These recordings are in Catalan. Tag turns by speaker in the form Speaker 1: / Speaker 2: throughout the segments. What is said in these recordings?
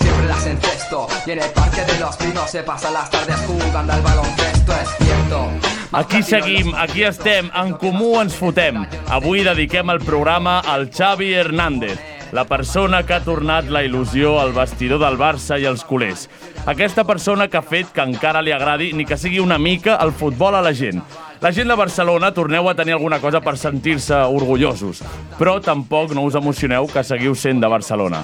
Speaker 1: Siempre las encesto. Y en el parque de los pinos se pasan las tardes jugando al baloncesto, es cierto.
Speaker 2: Aquí seguim, aquí estem, en comú ens fotem. Avui dediquem el programa al Xavi Hernández, la persona que ha tornat la il·lusió al vestidor del Barça i als culers. Aquesta persona que ha fet que encara li agradi, ni que sigui una mica, el futbol a la gent. La gent de Barcelona, torneu a tenir alguna cosa per sentir-se orgullosos, però tampoc no us emocioneu que seguiu sent de Barcelona.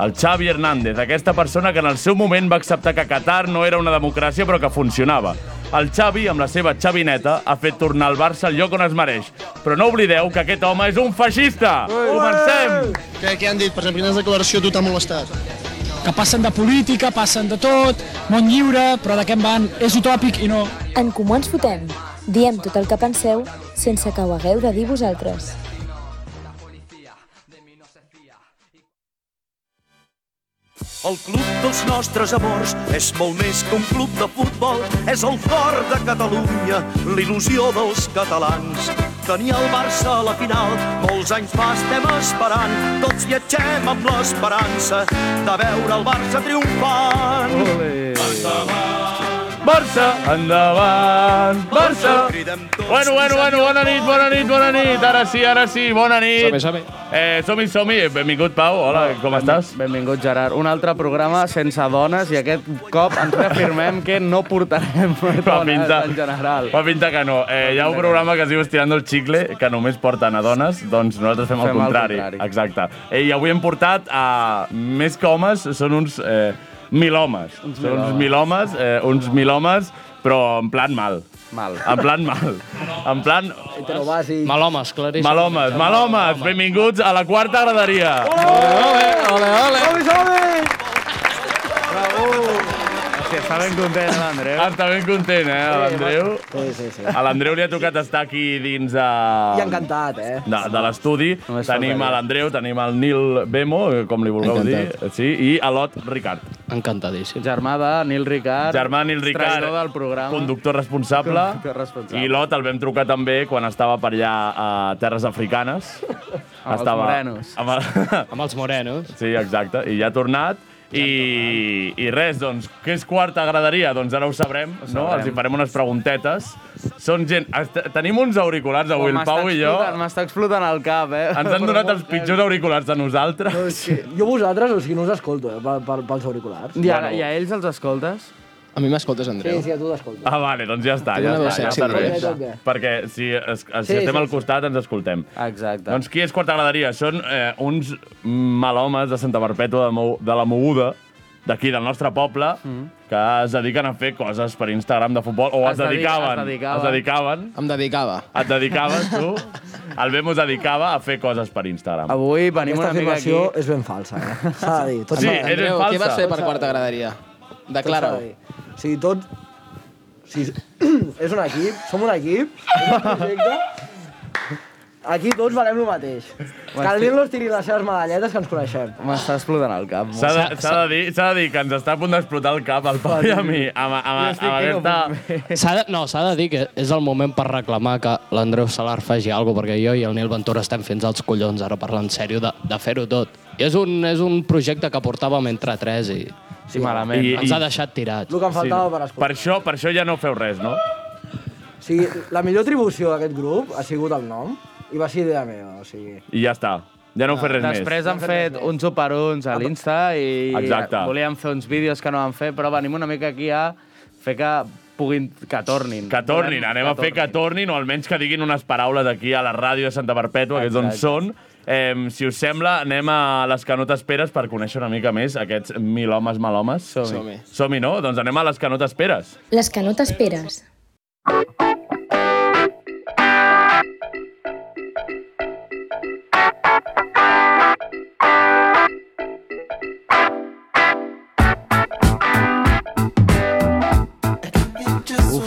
Speaker 2: El Xavi Hernández, aquesta persona que en el seu moment va acceptar que Qatar no era una democràcia però que funcionava. El Xavi, amb la seva xavineta, ha fet tornar el Barça al lloc on es mereix. Però no oblideu que aquest home és un feixista! Comencem!
Speaker 3: Què, què han dit? Per exemple, quina declaració a tu t'ha molestat?
Speaker 4: que passen de política, passen de tot, món lliure, però de què en van? És utòpic i no.
Speaker 5: En Comú Ens Fotem. Diem tot el que penseu sense que ho hagueu de dir vosaltres.
Speaker 6: El club dels nostres amors és molt més que un club de futbol, és el cor de Catalunya, l'il·lusió dels catalans. Tenir el Barça a la final, molts anys fa estem esperant, tots viatgem amb l'esperança de veure el Barça triomfant.
Speaker 2: Barça, endavant! Barça!
Speaker 6: Cridem tots
Speaker 2: Bueno, bueno, bueno, bona nit, bona nit, bona nit! Ara sí, ara sí, bona nit!
Speaker 7: Som-hi, som-hi.
Speaker 2: Eh, som-hi, som-hi! Benvingut, Pau, hola, com estàs?
Speaker 7: Benvingut, Gerard. Un altre programa sense dones i aquest cop ens reafirmem que no portarem
Speaker 2: Fa
Speaker 7: dones
Speaker 2: pinta,
Speaker 7: en general.
Speaker 2: fa pinta que no. Eh, hi ha un programa que es diu Estirando el xicle, que només porten a dones, doncs nosaltres fem, el
Speaker 7: Fem el
Speaker 2: contrari.
Speaker 7: contrari.
Speaker 2: Exacte. Eh, I avui hem portat a més que homes, són uns eh, mil homes. Uns mil, uns mil homes, eh, uns mil homes, però en plan mal.
Speaker 7: Mal.
Speaker 2: En plan mal. En plan...
Speaker 4: Mal homes, claríssim.
Speaker 2: Mal homes, mal homes, benvinguts a la quarta graderia.
Speaker 7: Que està ben content,
Speaker 2: eh,
Speaker 7: l'Andreu.
Speaker 2: Està ben content, eh, l'Andreu?
Speaker 8: Sí, sí, sí.
Speaker 2: A l'Andreu li ha tocat estar aquí dins de...
Speaker 8: I encantat, eh?
Speaker 2: de, de l'estudi.
Speaker 7: Només
Speaker 2: Tenim
Speaker 7: faltaria.
Speaker 2: a l'Andreu, tenim el Nil Bemo, eh, com li vulgueu dir, sí, i a l'Ot Ricard.
Speaker 4: Encantadíssim.
Speaker 7: Germà de Nil Ricard.
Speaker 2: Germà Nil Ricard,
Speaker 7: Traïdor del programa.
Speaker 2: conductor responsable.
Speaker 7: Conductor responsable.
Speaker 2: I l'Ot el vam trucar també quan estava per allà a Terres Africanes.
Speaker 7: Amb els morenos.
Speaker 2: Amb el...
Speaker 4: Amb els morenos.
Speaker 2: Sí, exacte. I ja ha tornat. I, I res, doncs, què és quarta graderia? Doncs ara ho sabrem, ho sabrem. no?
Speaker 7: sabrem.
Speaker 2: Els hi farem unes preguntetes. Són gent... est- Tenim uns auriculars avui, el
Speaker 7: M'està
Speaker 2: Pau i jo.
Speaker 7: explotant- M'està explotant el cap, eh?
Speaker 2: Ens han donat els pitjors auriculars de nosaltres.
Speaker 8: No, és que jo vosaltres, o sigui, no us escolto, eh, pel- pel- pels auriculars.
Speaker 7: I a, I a ells els escoltes?
Speaker 4: A mi m'escoltes,
Speaker 8: Sí,
Speaker 4: Andreu?
Speaker 8: sí, a tu t'escolto.
Speaker 2: Ah, vale, doncs ja està,
Speaker 4: Té
Speaker 2: ja
Speaker 4: una veu
Speaker 2: està, ja
Speaker 4: sexy,
Speaker 2: serveix.
Speaker 8: també.
Speaker 2: Perquè si, es, es, si
Speaker 8: Sí,
Speaker 2: estem
Speaker 8: sí,
Speaker 2: al costat ens escoltem.
Speaker 7: Exacte.
Speaker 2: Doncs qui és Quarta Graderia? Són eh, uns malhomes de Santa Perpètua de, Mou, de la Moguda, d'aquí, del nostre poble, mm. que es dediquen a fer coses per Instagram de futbol, o es,
Speaker 7: Es dedica-
Speaker 2: dedicaven,
Speaker 7: es dedicaven.
Speaker 2: es dedicaven.
Speaker 4: Em dedicava.
Speaker 2: Et dedicaves, tu? El Bemo es dedicava a fer coses per Instagram.
Speaker 7: Avui venim
Speaker 8: Aquesta
Speaker 7: una mica aquí...
Speaker 8: afirmació és ben falsa, eh? S'ha de dir. Tot s'ha
Speaker 2: Sí,
Speaker 8: de dir,
Speaker 2: eres
Speaker 4: Andreu, què
Speaker 2: falsa.
Speaker 4: vas fer per quarta graderia?
Speaker 8: tot s'ha
Speaker 4: Declara-ho.
Speaker 8: de dir. O sigui, tot... O sigui, és un equip, som un equip, és un projecte... Aquí tots valem el mateix. Que el Nil no es tiri les seves medalletes que ens coneixem.
Speaker 7: M'està explotant el cap.
Speaker 2: S'ha de, s'ha de, dir, s'ha de dir que ens està a punt d'explotar el cap al Pau i a mi, amb, amb, amb, amb aquesta...
Speaker 4: S'ha de, no, s'ha de dir que és el moment per reclamar que l'Andreu Salar faci alguna cosa, perquè jo i el Nil Ventura estem fins als collons ara parlant sèrio de, de fer-ho tot. I és un, és un projecte que portàvem entre tres i
Speaker 7: Sí, malament.
Speaker 2: I-
Speaker 7: I...
Speaker 4: ens ha deixat tirats.
Speaker 8: El que em faltava per
Speaker 2: Per
Speaker 8: escoltar.
Speaker 2: això, per això ja no feu res, no?
Speaker 8: O sigui, la millor atribució d'aquest grup ha sigut el nom i va ser idea meva, o sigui...
Speaker 2: I ja està. Ja no heu fet res
Speaker 7: Després han fet uns operons a l'Insta i
Speaker 2: Exacte.
Speaker 7: volíem fer uns vídeos que no van fer, però venim una mica aquí a fer que puguin, que tornin.
Speaker 2: més. Que tornin,
Speaker 7: Volem
Speaker 2: anem a fer que tornin, o almenys que diguin unes paraules aquí a la ràdio de Santa Perpètua, que és on
Speaker 7: Exacte.
Speaker 2: són. Eh, si us sembla, anem a les que no t'esperes per conèixer una mica més aquests mil homes mal homes.
Speaker 7: Som-hi.
Speaker 2: Som-hi, no? Doncs anem a les que no t'esperes.
Speaker 5: Les que no t'esperes.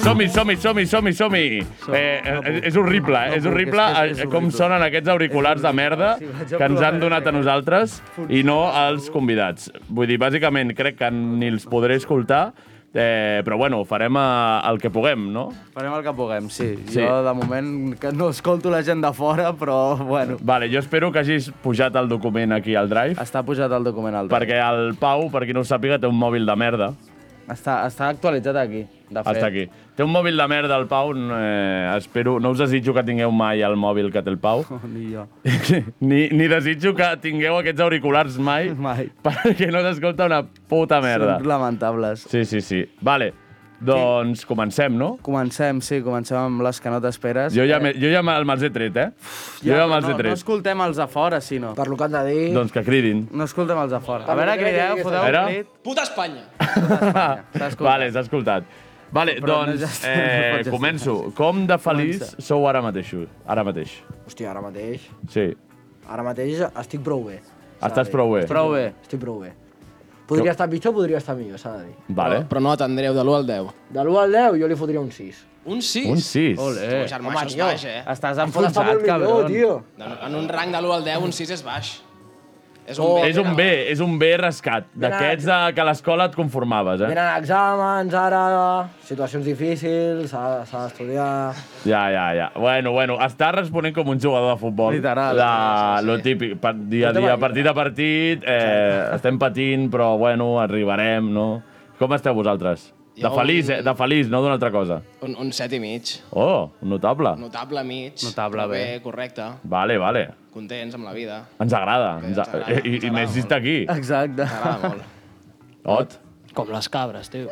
Speaker 2: Som-hi, som-hi, som-hi, som-hi, som-hi. Eh, eh, és horrible, eh? és horrible eh, com sonen aquests auriculars de merda que ens han donat a nosaltres i no als convidats. Vull dir, bàsicament, crec que ni els podré escoltar, eh, però bueno, farem eh, el que puguem, no?
Speaker 7: Farem el que puguem, sí.
Speaker 2: Sí.
Speaker 7: sí. Jo, de moment, que no escolto la gent de fora, però, bueno,
Speaker 2: Vale, jo espero que hagis pujat el document aquí al Drive,
Speaker 7: està pujat el document al
Speaker 2: perquè el Pau, per qui no ho sàpiga, té un mòbil de merda.
Speaker 7: Està, està actualitzat aquí, de fet.
Speaker 2: Està aquí. Té un mòbil de merda, el Pau. no, Eh, espero, no us desitjo que tingueu mai el mòbil que té el Pau.
Speaker 7: Oh, Ni jo.
Speaker 2: ni, ni desitjo que tingueu aquests auriculars mai,
Speaker 7: Mai.
Speaker 2: perquè no s'escolta una puta merda.
Speaker 7: Són lamentables.
Speaker 2: Sí, sí, sí. Vale, doncs comencem, no?
Speaker 7: Comencem, sí, comencem amb les que no t'esperes. Eh,
Speaker 2: Jo ja, me, jo ja me- me'ls he tret, eh? jo ja me'ls
Speaker 7: no,
Speaker 2: he
Speaker 7: no
Speaker 2: tret.
Speaker 7: escoltem els de fora, sí, no.
Speaker 8: Per lo que han de dir...
Speaker 2: Doncs que cridin.
Speaker 7: No escoltem els de fora. A
Speaker 8: Pablo,
Speaker 7: veure,
Speaker 8: crec que
Speaker 7: crideu,
Speaker 8: digues
Speaker 7: foteu
Speaker 2: això.
Speaker 7: un
Speaker 2: Era?
Speaker 7: crit.
Speaker 4: Puta Espanya!
Speaker 7: S'ha escoltat.
Speaker 2: Vale, s'ha escoltat. Vale,
Speaker 7: Però no
Speaker 2: doncs
Speaker 7: ja està, no
Speaker 2: eh,
Speaker 7: pots
Speaker 2: començo. Com de feliç sou ara mateixos? Ara mateix.
Speaker 8: Hòstia, ara mateix...
Speaker 2: Sí.
Speaker 8: Ara mateix estic prou bé. s'ha de
Speaker 2: Estàs
Speaker 8: dir.
Speaker 2: prou bé.
Speaker 7: Prou bé.
Speaker 8: Estic prou bé. Podria estar pitjor, podria estar millor, s'ha de dir.
Speaker 2: Vale.
Speaker 9: Però no atendreu de l'1 al 10.
Speaker 8: De l'1 al 10 jo li fotria un 6.
Speaker 4: Un 6?
Speaker 2: Un 6.
Speaker 7: Olé.
Speaker 4: Oh, germà,
Speaker 8: Home,
Speaker 4: això és
Speaker 8: tio.
Speaker 4: baix, eh?
Speaker 7: Eh,
Speaker 8: Pot
Speaker 7: Estàs
Speaker 8: estar
Speaker 7: enfonsat,
Speaker 8: molt millor,
Speaker 7: cabron.
Speaker 8: tio.
Speaker 4: En, en un rang de l'1 al 10, un 6 és baix. És
Speaker 8: Oh,
Speaker 4: B,
Speaker 2: És un
Speaker 4: no?
Speaker 2: B, és un B rescat. D'aquests de- que a l'escola et conformaves, eh?
Speaker 8: Venen exàmens ara, situacions difícils, s'ha s'ha d'estudiar...
Speaker 2: Ja, ja, ja. Bueno, bueno, està responent com un jugador de futbol.
Speaker 7: Literal.
Speaker 2: La, lo típic, pa- dia a dia, partit a partit, eh, estem patint, però bueno, arribarem, no? Com esteu vosaltres? De
Speaker 4: Jo-
Speaker 2: feliç, eh? De feliç, no d'una altra cosa.
Speaker 4: Un, un 7 i mig.
Speaker 2: Oh, notable.
Speaker 4: Notable mig.
Speaker 7: Notable,
Speaker 4: però
Speaker 7: bé.
Speaker 4: Correcte.
Speaker 2: Vale, vale.
Speaker 4: Contents amb la vida.
Speaker 2: Ens agrada. Ens
Speaker 4: ens agrada,
Speaker 2: a... I,
Speaker 4: ens
Speaker 2: I
Speaker 4: agrada
Speaker 2: més si
Speaker 4: molt.
Speaker 2: està aquí.
Speaker 7: Exacte.
Speaker 4: M'agrada molt.
Speaker 2: Ot.
Speaker 4: Com les cabres, tio.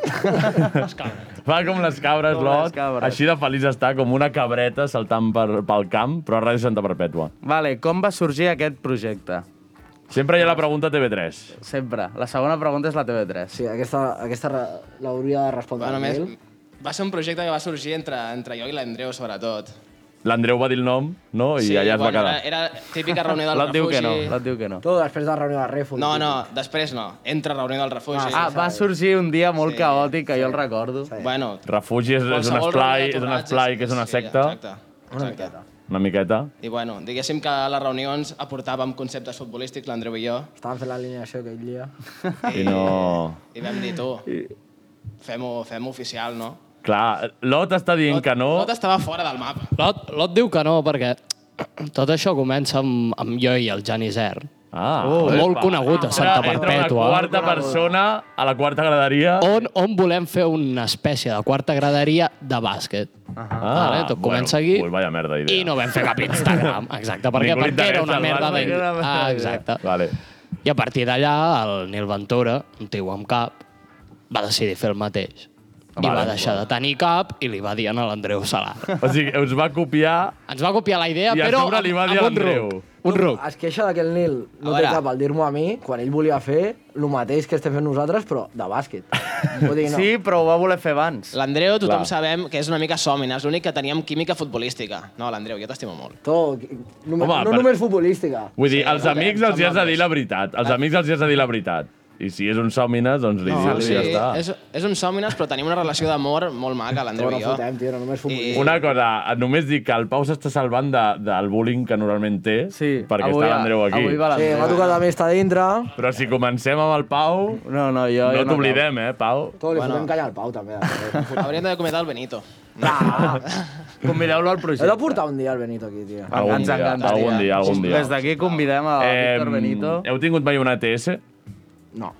Speaker 2: Va com les cabres,
Speaker 7: Com les
Speaker 2: l'Ot.
Speaker 7: cabres.
Speaker 2: Així de feliç està, com una cabreta saltant per, pel camp, però a Ràdio Santa Perpètua.
Speaker 7: Vale, com va sorgir aquest projecte?
Speaker 2: Sempre hi ha la pregunta TV3.
Speaker 7: Sempre. La segona pregunta és la TV3.
Speaker 8: Sí, aquesta, aquesta re- l'hauria de respondre
Speaker 4: Bueno, a
Speaker 8: bueno,
Speaker 4: més,
Speaker 8: ell.
Speaker 4: va ser un projecte que va sorgir entre, entre jo i l'Andreu, sobretot.
Speaker 2: L'Andreu va dir el nom, no? I allà es va
Speaker 4: bueno,
Speaker 2: quedar.
Speaker 4: Era, era típica reunió del
Speaker 7: L'Ot diu
Speaker 4: refugi.
Speaker 7: que no, l'Ot diu que no.
Speaker 8: Tot després de la reunió de Refu.
Speaker 4: No, no, després no. Entre reunió del refugi.
Speaker 7: Ah, va sorgir un dia molt
Speaker 4: Sí,
Speaker 7: caòtic, que jo el recordo.
Speaker 4: Bueno,
Speaker 2: Refugi és, és un
Speaker 4: qualsevol
Speaker 2: esplai,
Speaker 4: reunió de
Speaker 2: és un
Speaker 4: tornats
Speaker 2: esplai que és una
Speaker 4: sí,
Speaker 2: secta,
Speaker 4: Exacte. exacte.
Speaker 2: una miqueta.
Speaker 4: I bueno, diguéssim que a les reunions aportàvem conceptes futbolístics, l'Andreu i jo,
Speaker 8: Estàvem fent l'alineació aquell dia.
Speaker 2: I no...
Speaker 4: i vam dir, tu, fem-ho fem oficial, no?
Speaker 2: Clar, l'Ot està dient que no.
Speaker 4: Tot estava fora del mapa.
Speaker 9: Lot, Lot diu que no, perquè tot això comença amb, amb jo i el Jani Zer.
Speaker 2: Ah,
Speaker 9: Oh,
Speaker 2: epa.
Speaker 9: molt conegut a Santa
Speaker 2: Entra- Entra
Speaker 9: Perpètua.
Speaker 2: una quarta persona a la quarta graderia.
Speaker 9: On, on volem fer una espècie de quarta graderia de bàsquet.
Speaker 2: Ah,
Speaker 9: vale, tot comença aquí.
Speaker 2: Ui, valla merda idea.
Speaker 9: I no vam fer cap Instagram, exacte, perquè,
Speaker 2: Ningú li
Speaker 9: perquè
Speaker 2: interessa
Speaker 9: era una
Speaker 2: el
Speaker 9: merda
Speaker 2: bàsquet.
Speaker 9: d'ell. Ah, exacte.
Speaker 2: Vale.
Speaker 9: I a partir d'allà, el Nil Ventura, un tio amb cap, va decidir fer el mateix. I
Speaker 2: Vale.
Speaker 9: va deixar de tenir cap i li va dir a l'Andreu Salar.
Speaker 2: O sigui, us va copiar...
Speaker 9: Ens va copiar la idea,
Speaker 2: I a
Speaker 9: però
Speaker 2: sobre li va
Speaker 9: amb-
Speaker 2: dir
Speaker 9: amb
Speaker 2: a
Speaker 9: un
Speaker 2: l'Andreu.
Speaker 9: ruc. Un ruc.
Speaker 8: Es queixa de que el Nil no
Speaker 4: A
Speaker 8: té
Speaker 4: veure.
Speaker 8: cap al dir-m'ho a mi, quan ell volia fer el mateix que estem fent nosaltres, però de bàsquet. Vull dir, no.
Speaker 7: Sí, però ho va voler fer abans.
Speaker 4: L'Andreu, tothom
Speaker 2: Clar.
Speaker 4: Clar. sabem que és una mica sòmina, és l'únic que teníem química futbolística. No, l'Andreu, jo t'estimo molt.
Speaker 8: Tot, només,
Speaker 2: Home,
Speaker 8: no
Speaker 2: per-
Speaker 8: només futbolística.
Speaker 2: Vull dir, als amics els hi has de
Speaker 4: noms.
Speaker 2: dir la veritat.
Speaker 9: Ah.
Speaker 2: Els amics els hi has de dir la veritat. I si és un sòmines, doncs li
Speaker 4: No,
Speaker 2: dius i
Speaker 4: sí,
Speaker 2: ja està.
Speaker 4: és, és un sòmines, però tenim una relació d'amor molt maca, l'Andreu
Speaker 8: Bueno,
Speaker 4: i jo.
Speaker 8: fotem, tio, no només futbolística.
Speaker 2: Una cosa, només dic que el Pau s'està salvant de, del bullying que normalment té,
Speaker 7: Sí,
Speaker 2: perquè està l'Andreu aquí.
Speaker 7: Avui va
Speaker 8: Sí,
Speaker 7: l'Andreu.
Speaker 8: m'ha tocat també estar dintre.
Speaker 2: Però si comencem amb el Pau,
Speaker 7: No, no, jo... jo
Speaker 2: no t'oblidem, eh, Pau?
Speaker 8: Tot, li bueno. fotem callar al Pau, també.
Speaker 4: Hauríem de comentar el Benito.
Speaker 7: Convideu-lo al
Speaker 8: Heu de
Speaker 7: projecte.
Speaker 8: portar un dia el Benito aquí, tio.
Speaker 2: Algun
Speaker 7: Ens
Speaker 2: dia,
Speaker 7: encantaria.
Speaker 2: algun dia, algun dia.
Speaker 7: Des d'aquí convidem a Víctor Benito.
Speaker 2: Heu tingut mai una ETS?
Speaker 4: No.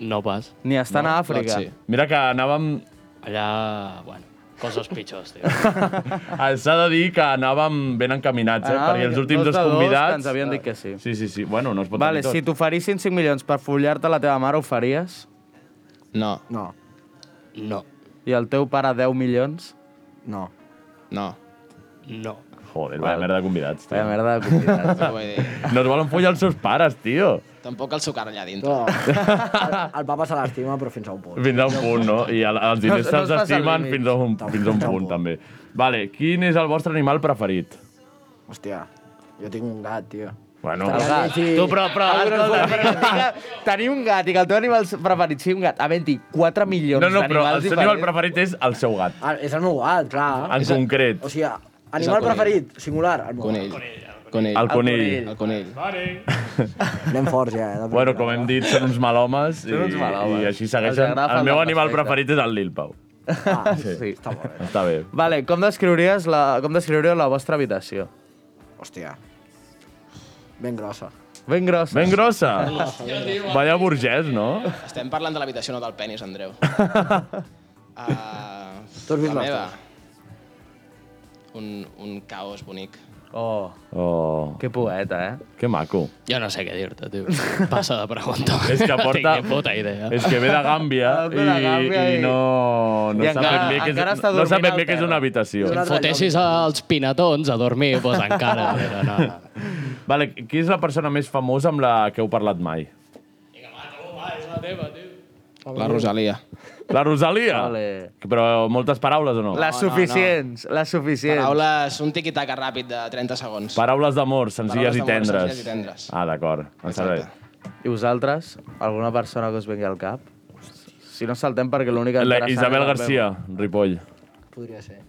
Speaker 9: No pas.
Speaker 7: Ni estar a Àfrica.
Speaker 9: Lot, sí.
Speaker 2: Mira que anàvem...
Speaker 9: Allà, bueno, coses pitjors, tio.
Speaker 2: S'ha de dir que anàvem ben encaminats, eh?
Speaker 7: Anàvem
Speaker 2: perquè els últims
Speaker 7: Ah, dos
Speaker 2: dos
Speaker 7: de dos Ah. que
Speaker 2: convidats...
Speaker 7: ens havien dit que sí.
Speaker 2: Sí, sí, sí. Bueno, no es pot
Speaker 7: Vale,
Speaker 2: dir tot.
Speaker 7: si t'oferissin 5 milions per follar-te la teva mare, ho faries?
Speaker 4: No.
Speaker 8: No,
Speaker 9: No,
Speaker 7: I el teu pare 10 milions?
Speaker 8: no.
Speaker 4: No.
Speaker 9: no.
Speaker 2: Joder, vaya merda de convidats,
Speaker 7: Vaya
Speaker 2: tio.
Speaker 7: merda de convidats.
Speaker 4: no vull dir.
Speaker 2: No es volen follar els seus pares, tio.
Speaker 4: Tampoc el sucar allà dintre.
Speaker 8: Tot. El, el papa se l'estima, però fins a un punt.
Speaker 2: Fins a un punt, no? I el, els diners se'ls
Speaker 7: No- no es passa el
Speaker 2: estimen
Speaker 7: límit.
Speaker 2: fins a, un, fins a un punt, també. Vale, quin és el vostre animal preferit?
Speaker 8: Hòstia, jo tinc un gat, tio.
Speaker 2: Bueno,
Speaker 7: El gat. Ah,
Speaker 2: tu, però, però, escolta,
Speaker 7: Tenir Ah. un gat i que el teu animal preferit sigui un gat. Havent-hi 4 milions
Speaker 2: No, no,
Speaker 7: d'animals
Speaker 2: però el Ah. seu animal
Speaker 7: diferents.
Speaker 2: preferit és el seu gat.
Speaker 8: Ah, és el meu gat, clar.
Speaker 2: En
Speaker 8: És
Speaker 2: concret.
Speaker 8: O sigui,
Speaker 2: És
Speaker 8: animal el
Speaker 2: el
Speaker 8: preferit, singular, el meu gat.
Speaker 2: Conell. El conell.
Speaker 8: El conell. Anem forts, ja. Eh?
Speaker 2: Bueno, com hem dit, són uns malhomes, i,
Speaker 8: Són uns malhomes.
Speaker 2: i així
Speaker 7: Els
Speaker 2: segueixen.
Speaker 7: agrafen
Speaker 2: El meu
Speaker 7: la
Speaker 2: animal
Speaker 7: perfecta.
Speaker 2: preferit és el Lil Pau.
Speaker 7: Ah, sí. sí. Està molt
Speaker 2: Està bé.
Speaker 7: Vale, com descriuries la, com descriuríeu la vostra habitació?
Speaker 8: Hòstia. Ben grossa.
Speaker 7: Ben grossa.
Speaker 2: Ben grossa.
Speaker 9: Hòstia, tio.
Speaker 2: Vaya burgès, no?
Speaker 9: Estem parlant de l'habitació, no del penis, Andreu.
Speaker 4: Ah,
Speaker 9: uh,
Speaker 8: tu has vist
Speaker 9: la
Speaker 8: les
Speaker 9: meva. Un, un caos bonic.
Speaker 7: Oh.
Speaker 2: Oh.
Speaker 7: Que poeta, eh?
Speaker 2: Que maco.
Speaker 9: Jo no sé què dir-te, tio. Passa de preguntar.
Speaker 2: És que porta...
Speaker 9: Tinc ni puta idea.
Speaker 2: És que ve de Gàmbia
Speaker 9: Ve
Speaker 2: i,
Speaker 9: de Gàmbia
Speaker 2: i
Speaker 9: i-
Speaker 2: no, no
Speaker 9: I
Speaker 2: sap
Speaker 9: encara-
Speaker 2: ben bé que és,
Speaker 9: encara està
Speaker 2: no sap
Speaker 9: dormint
Speaker 2: ben
Speaker 9: al
Speaker 2: bé que és
Speaker 9: terra.
Speaker 2: una habitació.
Speaker 9: Si em fotessis als pinatons a dormir, doncs encara. Però no, no.
Speaker 2: Vale, qui és la persona més famosa amb la que heu parlat mai?
Speaker 10: La Rosalia.
Speaker 2: La Rosalia? Vale. Però moltes paraules o no?
Speaker 10: Les No, no, no. suficients,
Speaker 7: les suficients.
Speaker 9: Paraules, un tiqui-taca ràpid de 30 segons.
Speaker 2: Paraules d'amor, senzilles i
Speaker 9: Paraules d'amor,
Speaker 2: tendres.
Speaker 9: senzilles i tendres.
Speaker 2: Ah, d'acord. Em sap bé.
Speaker 7: I vosaltres? Alguna persona que us vengui al cap? Si no saltem perquè l'única...
Speaker 2: La
Speaker 7: interessant
Speaker 2: Isabel
Speaker 7: és la
Speaker 2: Garcia, Ripoll.
Speaker 8: Podria ser.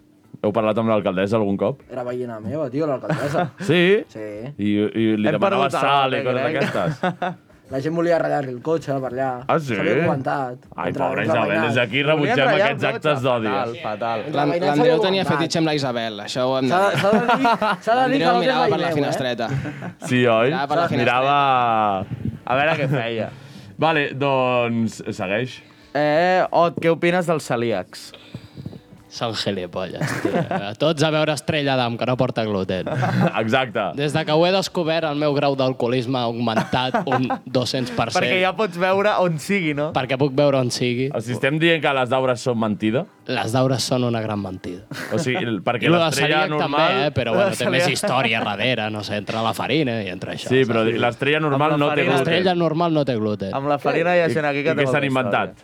Speaker 2: Heu parlat amb l'alcaldessa algun cop?
Speaker 8: Era veïna meva, tio, l'alcaldessa.
Speaker 2: Sí?
Speaker 8: Sí.
Speaker 2: I, i li
Speaker 8: Hem
Speaker 2: demanava
Speaker 8: perdut
Speaker 2: sal i
Speaker 8: el
Speaker 2: coses
Speaker 8: Pepe, crec.
Speaker 2: d'aquestes?
Speaker 8: La gent volia ratllar-li el cotxe per allà.
Speaker 2: Ah, sí?
Speaker 8: S'havia comentat.
Speaker 2: Ai,
Speaker 8: Entre-
Speaker 2: pobra
Speaker 8: entre
Speaker 2: Isabel,
Speaker 8: veïnats.
Speaker 2: des d'aquí rebutgem aquests actes d'odi. eh?
Speaker 7: fatal.
Speaker 9: L'An-
Speaker 8: Entre veïnats
Speaker 9: L'Andreu
Speaker 8: s'havia
Speaker 9: tenia
Speaker 8: comentat.
Speaker 9: fetitxe amb la Isabel, això ho hem de
Speaker 8: S'ha de-
Speaker 9: dir.
Speaker 8: s'ha de dir- s'ha de dir que no
Speaker 9: L'Andreu
Speaker 8: és
Speaker 9: mirava per la
Speaker 8: veïneu, eh?
Speaker 9: finestreta.
Speaker 2: Sí, oi?
Speaker 9: Mirava per la
Speaker 2: Mirava... A
Speaker 7: veure què feia.
Speaker 2: Vale, doncs segueix.
Speaker 7: Eh, Ot, què opines dels celíacs?
Speaker 9: Són gilipolles, tio. A Tots a veure Estrella d'Am, que no porta gluten.
Speaker 2: Exacte.
Speaker 9: Des de que ho he descobert, el meu grau d'alcoholisme ha augmentat un 200%.
Speaker 7: Perquè ja pots veure on sigui, no?
Speaker 9: Perquè puc veure on sigui.
Speaker 2: O sigui, estem dient que les daures són mentida?
Speaker 9: Les daures són una gran mentida.
Speaker 2: O sigui, el- perquè
Speaker 9: I lo de
Speaker 2: l'estrella
Speaker 9: celíac
Speaker 2: normal...
Speaker 9: També, eh? Però bueno, té més història darrere, no sé, entre la farina i entre això.
Speaker 2: Sí, però l'estrella normal no té gluten.
Speaker 9: L'estrella normal no té gluten.
Speaker 7: Amb la farina hi ha gent aquí que
Speaker 2: I què s'han inventat?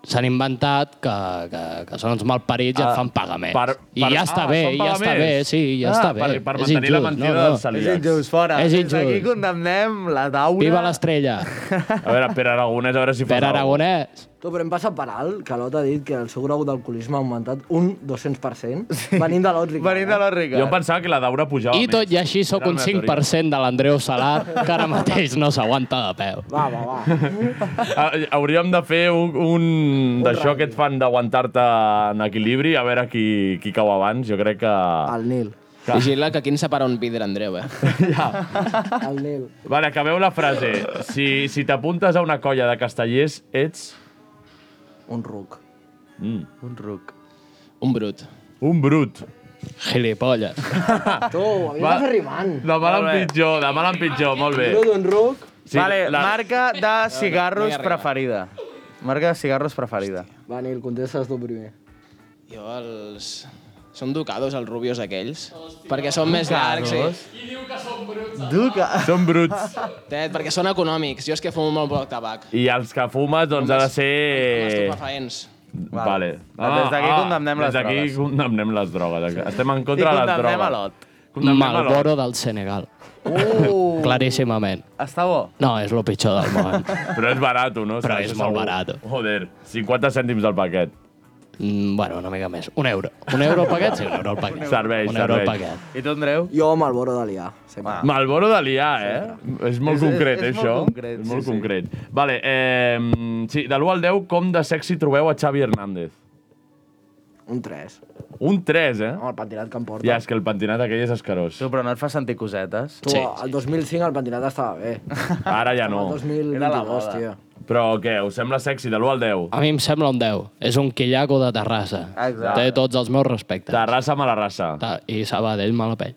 Speaker 9: S'han inventat que, que, que són uns malparits i et fan pagaments. Per, per, I ja
Speaker 7: Ah,
Speaker 9: està bé,
Speaker 7: són
Speaker 9: ja està bé,
Speaker 7: pagaments.
Speaker 9: sí, ja
Speaker 7: Ah,
Speaker 9: està bé.
Speaker 7: per- per
Speaker 9: És
Speaker 7: mantenir la
Speaker 9: injust,
Speaker 7: mentida
Speaker 9: no, no.
Speaker 7: dels celíacs. És injust, fora.
Speaker 9: És
Speaker 7: Fins
Speaker 9: injust.
Speaker 7: aquí condemnem la daura.
Speaker 9: Viva l'estrella.
Speaker 2: A veure, Pere Aragonès, a veure si
Speaker 9: Pere Aragonès.
Speaker 8: Tu, però hem passat per alt, que l'Ot ha dit que el seu grau d'alcoholisme ha augmentat un 200%, venint de l'Ot Ricard. Venint
Speaker 7: de l'Ot
Speaker 2: Jo em pensava que la daura pujava
Speaker 9: I tot i així sóc
Speaker 2: Era
Speaker 9: un
Speaker 2: una
Speaker 9: 5% de l'Andreu Salar, que ara mateix no s'aguanta de peu.
Speaker 8: Va, va, va.
Speaker 2: Ah, Hauríem de fer un, un d'això que et fan d'aguantar-te en equilibri, a veure qui, qui cau abans. Jo crec que...
Speaker 8: El Nil.
Speaker 9: Vigila que aquí ens separa un vidre, Andreu, eh?
Speaker 8: El Nil.
Speaker 2: Vale, acabeu la frase. Si, si t'apuntes a una colla de castellers, ets...
Speaker 8: Un ruc.
Speaker 2: Mm.
Speaker 7: Un ruc.
Speaker 9: Un brut.
Speaker 2: Un brut.
Speaker 9: Gilipolles.
Speaker 8: Tu, havies
Speaker 2: Va.
Speaker 8: de fer rimant.
Speaker 2: De mal en
Speaker 8: Molt bé.
Speaker 2: pitjor, de mal en pitjor, molt bé.
Speaker 8: Brut, un ruc.
Speaker 2: Sí,
Speaker 7: vale,
Speaker 2: la-
Speaker 7: marca de
Speaker 9: no hi
Speaker 7: cigarros
Speaker 9: arriba.
Speaker 7: preferida. Marca de cigarros preferida.
Speaker 8: Va, Nil, contestes tu primer.
Speaker 9: Jo els... Són ducados, els rubios aquells. perquè són més llargs,
Speaker 7: Ducados?
Speaker 9: sí.
Speaker 7: Duca.
Speaker 2: Són bruts.
Speaker 9: Tet, perquè són econòmics. Jo és que fumo molt poc tabac.
Speaker 2: I els que fumes, doncs, ha de ser...
Speaker 9: Estupefaents.
Speaker 2: Vale. Ah,
Speaker 7: Des d'aquí condemnem les
Speaker 2: Des d'aquí
Speaker 7: drogues.
Speaker 2: condemnem les drogues. Estem en contra
Speaker 7: I
Speaker 2: de les
Speaker 7: condemnem
Speaker 2: drogues.
Speaker 7: a l'Ot.
Speaker 2: Condemnem a l'Ot.
Speaker 9: Malboro del Senegal.
Speaker 7: Uh.
Speaker 9: Claríssimament.
Speaker 7: Està bo?
Speaker 9: No, és el pitjor del món.
Speaker 2: Però és barat, no?
Speaker 9: Però
Speaker 2: Saps?
Speaker 9: és molt
Speaker 2: Segur.
Speaker 9: barat.
Speaker 2: Joder, 50 cèntims al paquet.
Speaker 9: Mm, bueno, una mica més. Un euro. Un euro al paquet? Sí, un euro al paquet.
Speaker 2: Serveix,
Speaker 9: un euro al
Speaker 2: serveix.
Speaker 9: paquet.
Speaker 7: I tu, Andreu?
Speaker 8: Jo amb el Boro d'Alià, sempre.
Speaker 7: Ah.
Speaker 2: Malboro de liar, eh? És molt
Speaker 7: És- és-
Speaker 2: concret, eh,
Speaker 7: és
Speaker 2: això.
Speaker 7: molt concret,
Speaker 2: és
Speaker 7: sí,
Speaker 2: molt
Speaker 7: sí.
Speaker 2: concret. Vale, eh, sí, de l'1 al 10, com de sexy trobeu a Xavi Hernández?
Speaker 8: Un Oh, 3.
Speaker 2: Un 3, eh?
Speaker 8: Home, el pentinat que em porta.
Speaker 2: Ja, és que el pentinat aquell és escarós.
Speaker 7: Tu, però no et fa sentir cosetes?
Speaker 8: Tu, el 2005 el pentinat estava bé.
Speaker 2: Ara ja no.
Speaker 8: El 2022, tio.
Speaker 2: Però què, us sembla sexy de l'1 al 10?
Speaker 9: A mi em sembla un 10. És un quillaco de Terrassa.
Speaker 7: Exacte.
Speaker 9: Té tots els meus respectes.
Speaker 2: Terrassa mala raça.
Speaker 9: Ta- I Sabadell, mala pell.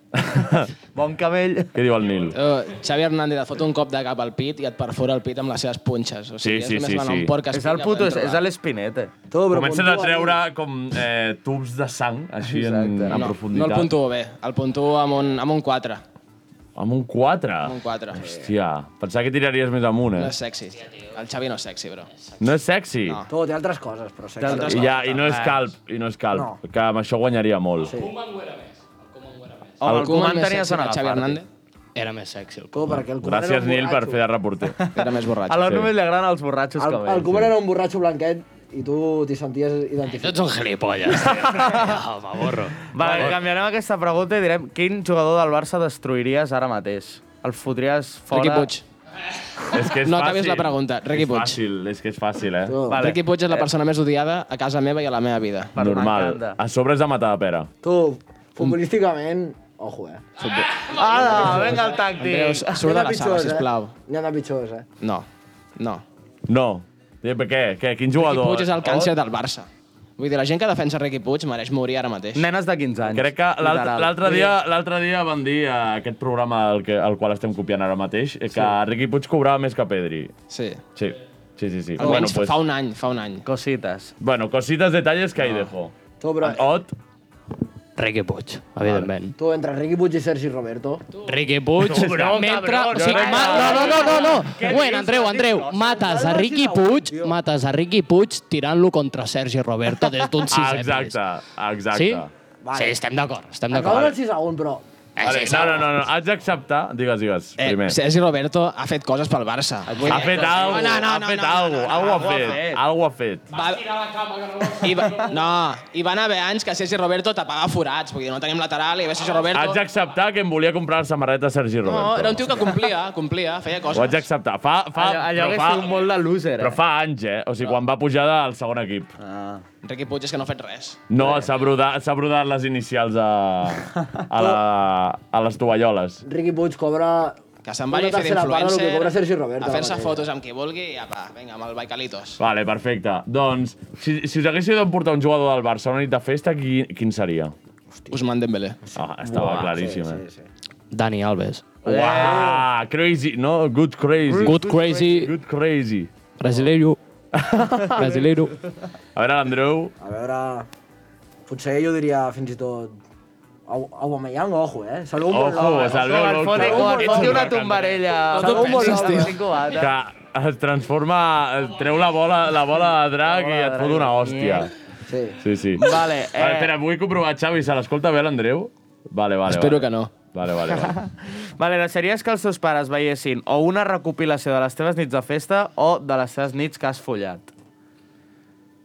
Speaker 7: Bon cabell.
Speaker 2: Què diu el Nil?
Speaker 9: Uh, Xavi Hernández et fot un cop de cap al pit i et perfora el pit amb les seves punxes. O sigui,
Speaker 2: Sí, sí,
Speaker 9: és
Speaker 2: sí,
Speaker 9: més
Speaker 2: sí.
Speaker 9: un porc que
Speaker 7: És el puto, és, és l'Espinete.
Speaker 8: Tu, però
Speaker 2: Comencen a
Speaker 8: puntua,
Speaker 2: treure com eh, tubs de sang, així en,
Speaker 7: Exacte.
Speaker 2: en
Speaker 9: No, no
Speaker 2: profunditat.
Speaker 9: el puntuo bé, el puntuo amb un, amb un 4.
Speaker 2: Amb un 4?
Speaker 9: Amb un 4.
Speaker 2: Hòstia, pensava que tiraries més amunt,
Speaker 9: No
Speaker 2: eh?
Speaker 9: és sexy. El Xavi no és sexy, però.
Speaker 2: No és sexy? No.
Speaker 8: Tu, té altres coses, però sé
Speaker 9: Té altres
Speaker 2: I, ja, I no és
Speaker 7: Ah.
Speaker 2: calp, i no és calp,
Speaker 8: No.
Speaker 2: que amb això guanyaria molt.
Speaker 8: Sí.
Speaker 2: El
Speaker 7: Koeman
Speaker 9: Koeman és
Speaker 7: tenia
Speaker 9: sexy
Speaker 7: son a
Speaker 9: que
Speaker 7: la
Speaker 9: Xavi
Speaker 7: part.
Speaker 9: Hernández. Era més sexy el
Speaker 8: Coman. perquè el Coman era
Speaker 2: Gràcies,
Speaker 8: un
Speaker 2: Nil, per
Speaker 8: borratxo.
Speaker 2: fer de reporter.
Speaker 10: Era més borratxo.
Speaker 7: A l'Arnau només li agraden els borratxos
Speaker 8: El,
Speaker 7: que veig.
Speaker 8: el Coman era un borratxo blanquet i tu t'hi senties identificat.
Speaker 9: Ets un gilipolles, tio. Home, borro.
Speaker 7: Va,
Speaker 8: eh.
Speaker 7: canviarem aquesta pregunta i direm quin jugador del Barça destruiries ara mateix? El fotries fora...
Speaker 10: Riqui Puig.
Speaker 2: És que és
Speaker 10: No
Speaker 2: fàcil.
Speaker 10: acabis la pregunta. Riqui Puig.
Speaker 2: És fàcil, és que és fàcil, eh?
Speaker 10: Vale. Riqui Puig és la persona més odiada a casa meva i a la meva vida.
Speaker 2: Normal. A sobre és de matar de pera.
Speaker 8: Tu, futbolísticament, ojo, eh?
Speaker 7: Ala, venga el
Speaker 10: Andreus,
Speaker 7: tàctic.
Speaker 10: surt de la sala,
Speaker 8: pitjors, eh?
Speaker 10: sisplau.
Speaker 8: N'hi ha de pitjors, eh?
Speaker 10: No, no.
Speaker 2: No. Eh, Per què? què?
Speaker 10: Riqui
Speaker 2: Quin jugador? Oh,
Speaker 10: Puig és
Speaker 7: eh?
Speaker 10: el càncer del Barça. Vull dir, la gent que defensa Riqui Puig mereix morir ara mateix.
Speaker 7: Nenes de 15 anys.
Speaker 2: Crec que l'altre
Speaker 7: Literal.
Speaker 2: l'altre dia, l'altre dia van dir a aquest programa al, que, al qual estem copiant ara mateix eh, que sí. Riqui Puig cobrava més que Pedri.
Speaker 10: Sí.
Speaker 2: Sí, sí, sí. sí.
Speaker 10: Almenys bueno, pues... fa un any, fa un any.
Speaker 7: Cosites.
Speaker 2: Bueno, cositas, detalles que ahí dejo.
Speaker 8: Tu, però,
Speaker 2: Ot,
Speaker 9: Riqui Puig, evidentment.
Speaker 8: tu, entre Riqui Puig i Sergi Roberto...
Speaker 9: Riqui Puig,
Speaker 8: bro,
Speaker 9: mentre...
Speaker 8: cabrón,
Speaker 9: o sigui,
Speaker 8: no,
Speaker 9: ma... no, no, no, no, no. Bueno, Andreu, Andreu, mates a Riqui Puig, mates a Riqui Puig tirant-lo contra Sergi Roberto des d'un sisè pis.
Speaker 2: exacte, exacte.
Speaker 9: Sí?
Speaker 8: Vale.
Speaker 9: Sí, estem d'acord, estem
Speaker 8: Acaba
Speaker 9: d'acord.
Speaker 8: el 6 a 1, però...
Speaker 9: Eh,
Speaker 2: Vale,
Speaker 9: sí,
Speaker 2: no, no, no, no, has d'acceptar, digues, digues, eh, primer.
Speaker 10: Sergi Roberto ha fet coses pel Barça.
Speaker 2: Ha fet alguna cosa, ha fet alguna cosa, algo ha fet, algo ha fet.
Speaker 10: Va... I va... No, hi van haver anys que Sergi Roberto tapava forats, vull dir, no tenim lateral i ve Sergi Roberto...
Speaker 2: Haig d'acceptar que em volia comprar la samarreta Sergi Roberto.
Speaker 10: No, era un tio que complia, complia, feia
Speaker 2: Ho haig
Speaker 10: coses.
Speaker 2: d'acceptar. Fa, fa,
Speaker 7: Allò, allò
Speaker 2: però
Speaker 7: que
Speaker 2: fa,
Speaker 7: és un molt de loser,
Speaker 2: però
Speaker 7: eh?
Speaker 2: fa anys, eh? O sigui, quan va pujar al segon equip.
Speaker 7: Ah.
Speaker 10: Riqui Puig és que no ha fet res.
Speaker 2: No, s'ha brodat, s'ha brodat les inicials a, a, la, a les tovalloles.
Speaker 8: Riqui Puig cobra...
Speaker 10: Que se'n vagi
Speaker 8: una
Speaker 10: a fer
Speaker 8: tercera part del que cobra Sergi
Speaker 10: d'influencer,
Speaker 8: Roberto.
Speaker 10: a
Speaker 8: eh.
Speaker 10: fer-se
Speaker 8: ara mateix.
Speaker 10: fotos amb qui vulgui i apa, vinga, amb el Baikalitos.
Speaker 2: Vale, perfecte. Doncs, si, si us haguéssiu d'emportar un jugador del Barça a una nit de festa, qui, quin seria?
Speaker 10: Ousmane Dembélé.
Speaker 2: Ah, estava
Speaker 7: Buah,
Speaker 2: claríssim, eh?
Speaker 8: Sí, sí. Eh.
Speaker 9: Dani Alves.
Speaker 2: Uah, crazy, no? Good crazy.
Speaker 9: Good crazy,
Speaker 2: Good crazy.
Speaker 9: brasileiro. brasileiro.
Speaker 2: A veure, l'Andreu...
Speaker 8: A veure... Potser jo diria fins i tot... Au- Aubameyang, ojo, eh? Salveu un bon nom,
Speaker 2: Ojo,
Speaker 8: eh?
Speaker 2: salveu
Speaker 7: El Fone Cor,
Speaker 2: l'Olca.
Speaker 7: ets una tombarella.
Speaker 8: Salveu un bon nom, eh?
Speaker 7: Que...
Speaker 2: Que es transforma... es Treu la bola, la bola de drac i et fot una hòstia.
Speaker 8: Sí.
Speaker 2: Sí, sí.
Speaker 7: Vale, eh,
Speaker 2: Vale, espera, vull comprovar, Xavi, se l'escolta bé l'Andreu? Vale, vale,
Speaker 10: Espero
Speaker 2: vale.
Speaker 10: que no.
Speaker 2: Vale, vale, vale.
Speaker 7: vale, deixaries que els teus pares veiessin o una recopilació de les teves nits de festa o de les teves nits que has follat?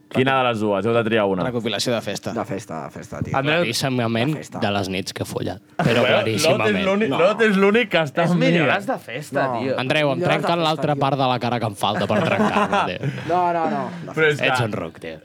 Speaker 2: Quina de les dues? Heu de triar una.
Speaker 10: Recopilació de festa.
Speaker 8: De festa, de festa, tio.
Speaker 7: Andreu,
Speaker 9: Claríssimament
Speaker 8: La festa.
Speaker 9: de les nits que folla. Però
Speaker 2: Però
Speaker 9: claríssimament.
Speaker 2: l'únic- Lot és l'únic que està
Speaker 7: és
Speaker 2: amb mi.
Speaker 7: millores de festa,
Speaker 8: No.
Speaker 7: tio.
Speaker 9: Andreu, em
Speaker 8: Millores de
Speaker 9: trenquen
Speaker 8: festa,
Speaker 9: l'altra
Speaker 8: tio.
Speaker 9: part de la cara que em falta per trencar-me, tio.
Speaker 8: No, no, no.
Speaker 2: Però és
Speaker 9: Ets un
Speaker 2: que,
Speaker 9: roc, tio.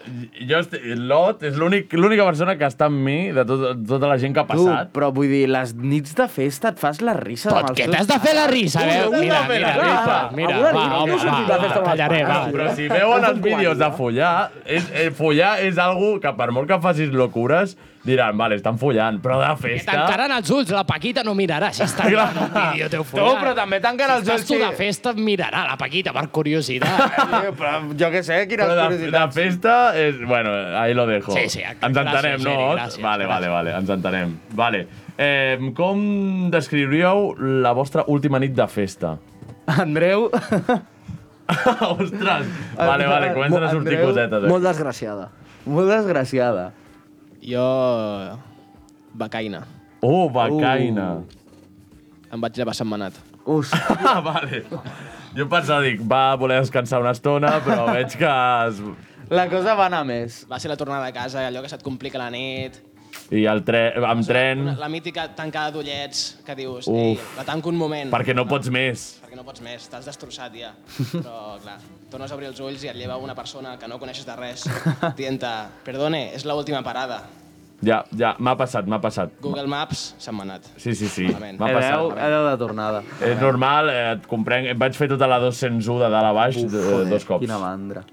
Speaker 2: jo estic, Lot és l'únic- l'única persona que està amb mi de tot, tota la gent que ha
Speaker 7: Tu,
Speaker 2: passat.
Speaker 7: però vull dir, les nits de festa et fas la risa
Speaker 9: Pot,
Speaker 7: amb els
Speaker 9: que t'has de fer la risa, veu?
Speaker 2: una
Speaker 9: Mira,
Speaker 2: de fer
Speaker 9: mira,
Speaker 2: la
Speaker 9: mira,
Speaker 2: risa.
Speaker 9: mira,
Speaker 8: Alguna
Speaker 9: va,
Speaker 8: nit
Speaker 9: home,
Speaker 8: heu sortit de
Speaker 9: va,
Speaker 8: festa amb els
Speaker 9: callaré,
Speaker 8: pares,
Speaker 9: va.
Speaker 2: Però si veuen els vídeos de follar, és, eh, follar és algo que per molt que facis locures, diran, vale, estan follant, però de
Speaker 9: Que
Speaker 2: festa...
Speaker 9: tancaran els ulls, la Paquita no mirarà si està mirant un vídeo teu
Speaker 7: Tu,
Speaker 9: follat.
Speaker 7: però també tanquen els
Speaker 9: Estàs
Speaker 7: ulls, Eh.
Speaker 9: tu de
Speaker 7: sí.
Speaker 9: festa, mirarà la Paquita per curiositat.
Speaker 7: Tio, però jo què sé, quines
Speaker 2: Però de, de
Speaker 7: curiositats.
Speaker 2: festa és... Bueno, ahí lo dejo.
Speaker 9: Sí, sí,
Speaker 2: Ens entenem,
Speaker 9: gràcies,
Speaker 2: no?
Speaker 9: Geri, gràcies,
Speaker 2: vale, vale,
Speaker 9: gràcies.
Speaker 2: vale, ens entenem. Vale. Eh, com descriuríeu la vostra última nit de festa?
Speaker 7: Andreu,
Speaker 2: Ostres! Vale, vale, comencen a sortir
Speaker 7: Andreu,
Speaker 2: cosetes. Eh?
Speaker 8: Molt desgraciada.
Speaker 7: molt desgraciada.
Speaker 10: Jo... Becaina.
Speaker 2: Oh, becaina.
Speaker 10: Em vaig llevar setmanat.
Speaker 7: Hòstia.
Speaker 2: Ah, vale. Jo pensava, dic, va voler descansar una estona, però veig que... Es...
Speaker 7: La cosa va anar més.
Speaker 10: Va ser la tornada a casa, allò que se't complica la nit,
Speaker 2: I el tre amb tren,
Speaker 10: la mítica tancada d'ullets que dius,
Speaker 2: Uf.
Speaker 10: Ei, la tanco un moment.
Speaker 2: perquè no pots més.
Speaker 10: perquè no pots més, estàs destrossat ja. Però, clar, tornes a obrir els ulls i et lleva una persona que no coneixes de res. Tienta, perdone, és l'última parada.
Speaker 2: Ja, ja, m'ha passat, m'ha passat.
Speaker 10: Google Maps, setmanat.
Speaker 2: Sí, sí, sí,
Speaker 10: Malament.
Speaker 9: Eh,
Speaker 2: m'ha
Speaker 7: Hereu,
Speaker 2: passat.
Speaker 7: hereu de tornada.
Speaker 2: És normal, eh, et comprenc. Vaig fer tota la 201 de dalt a baix Uf,
Speaker 7: Joder,
Speaker 2: dos cops.
Speaker 7: Quina mandra.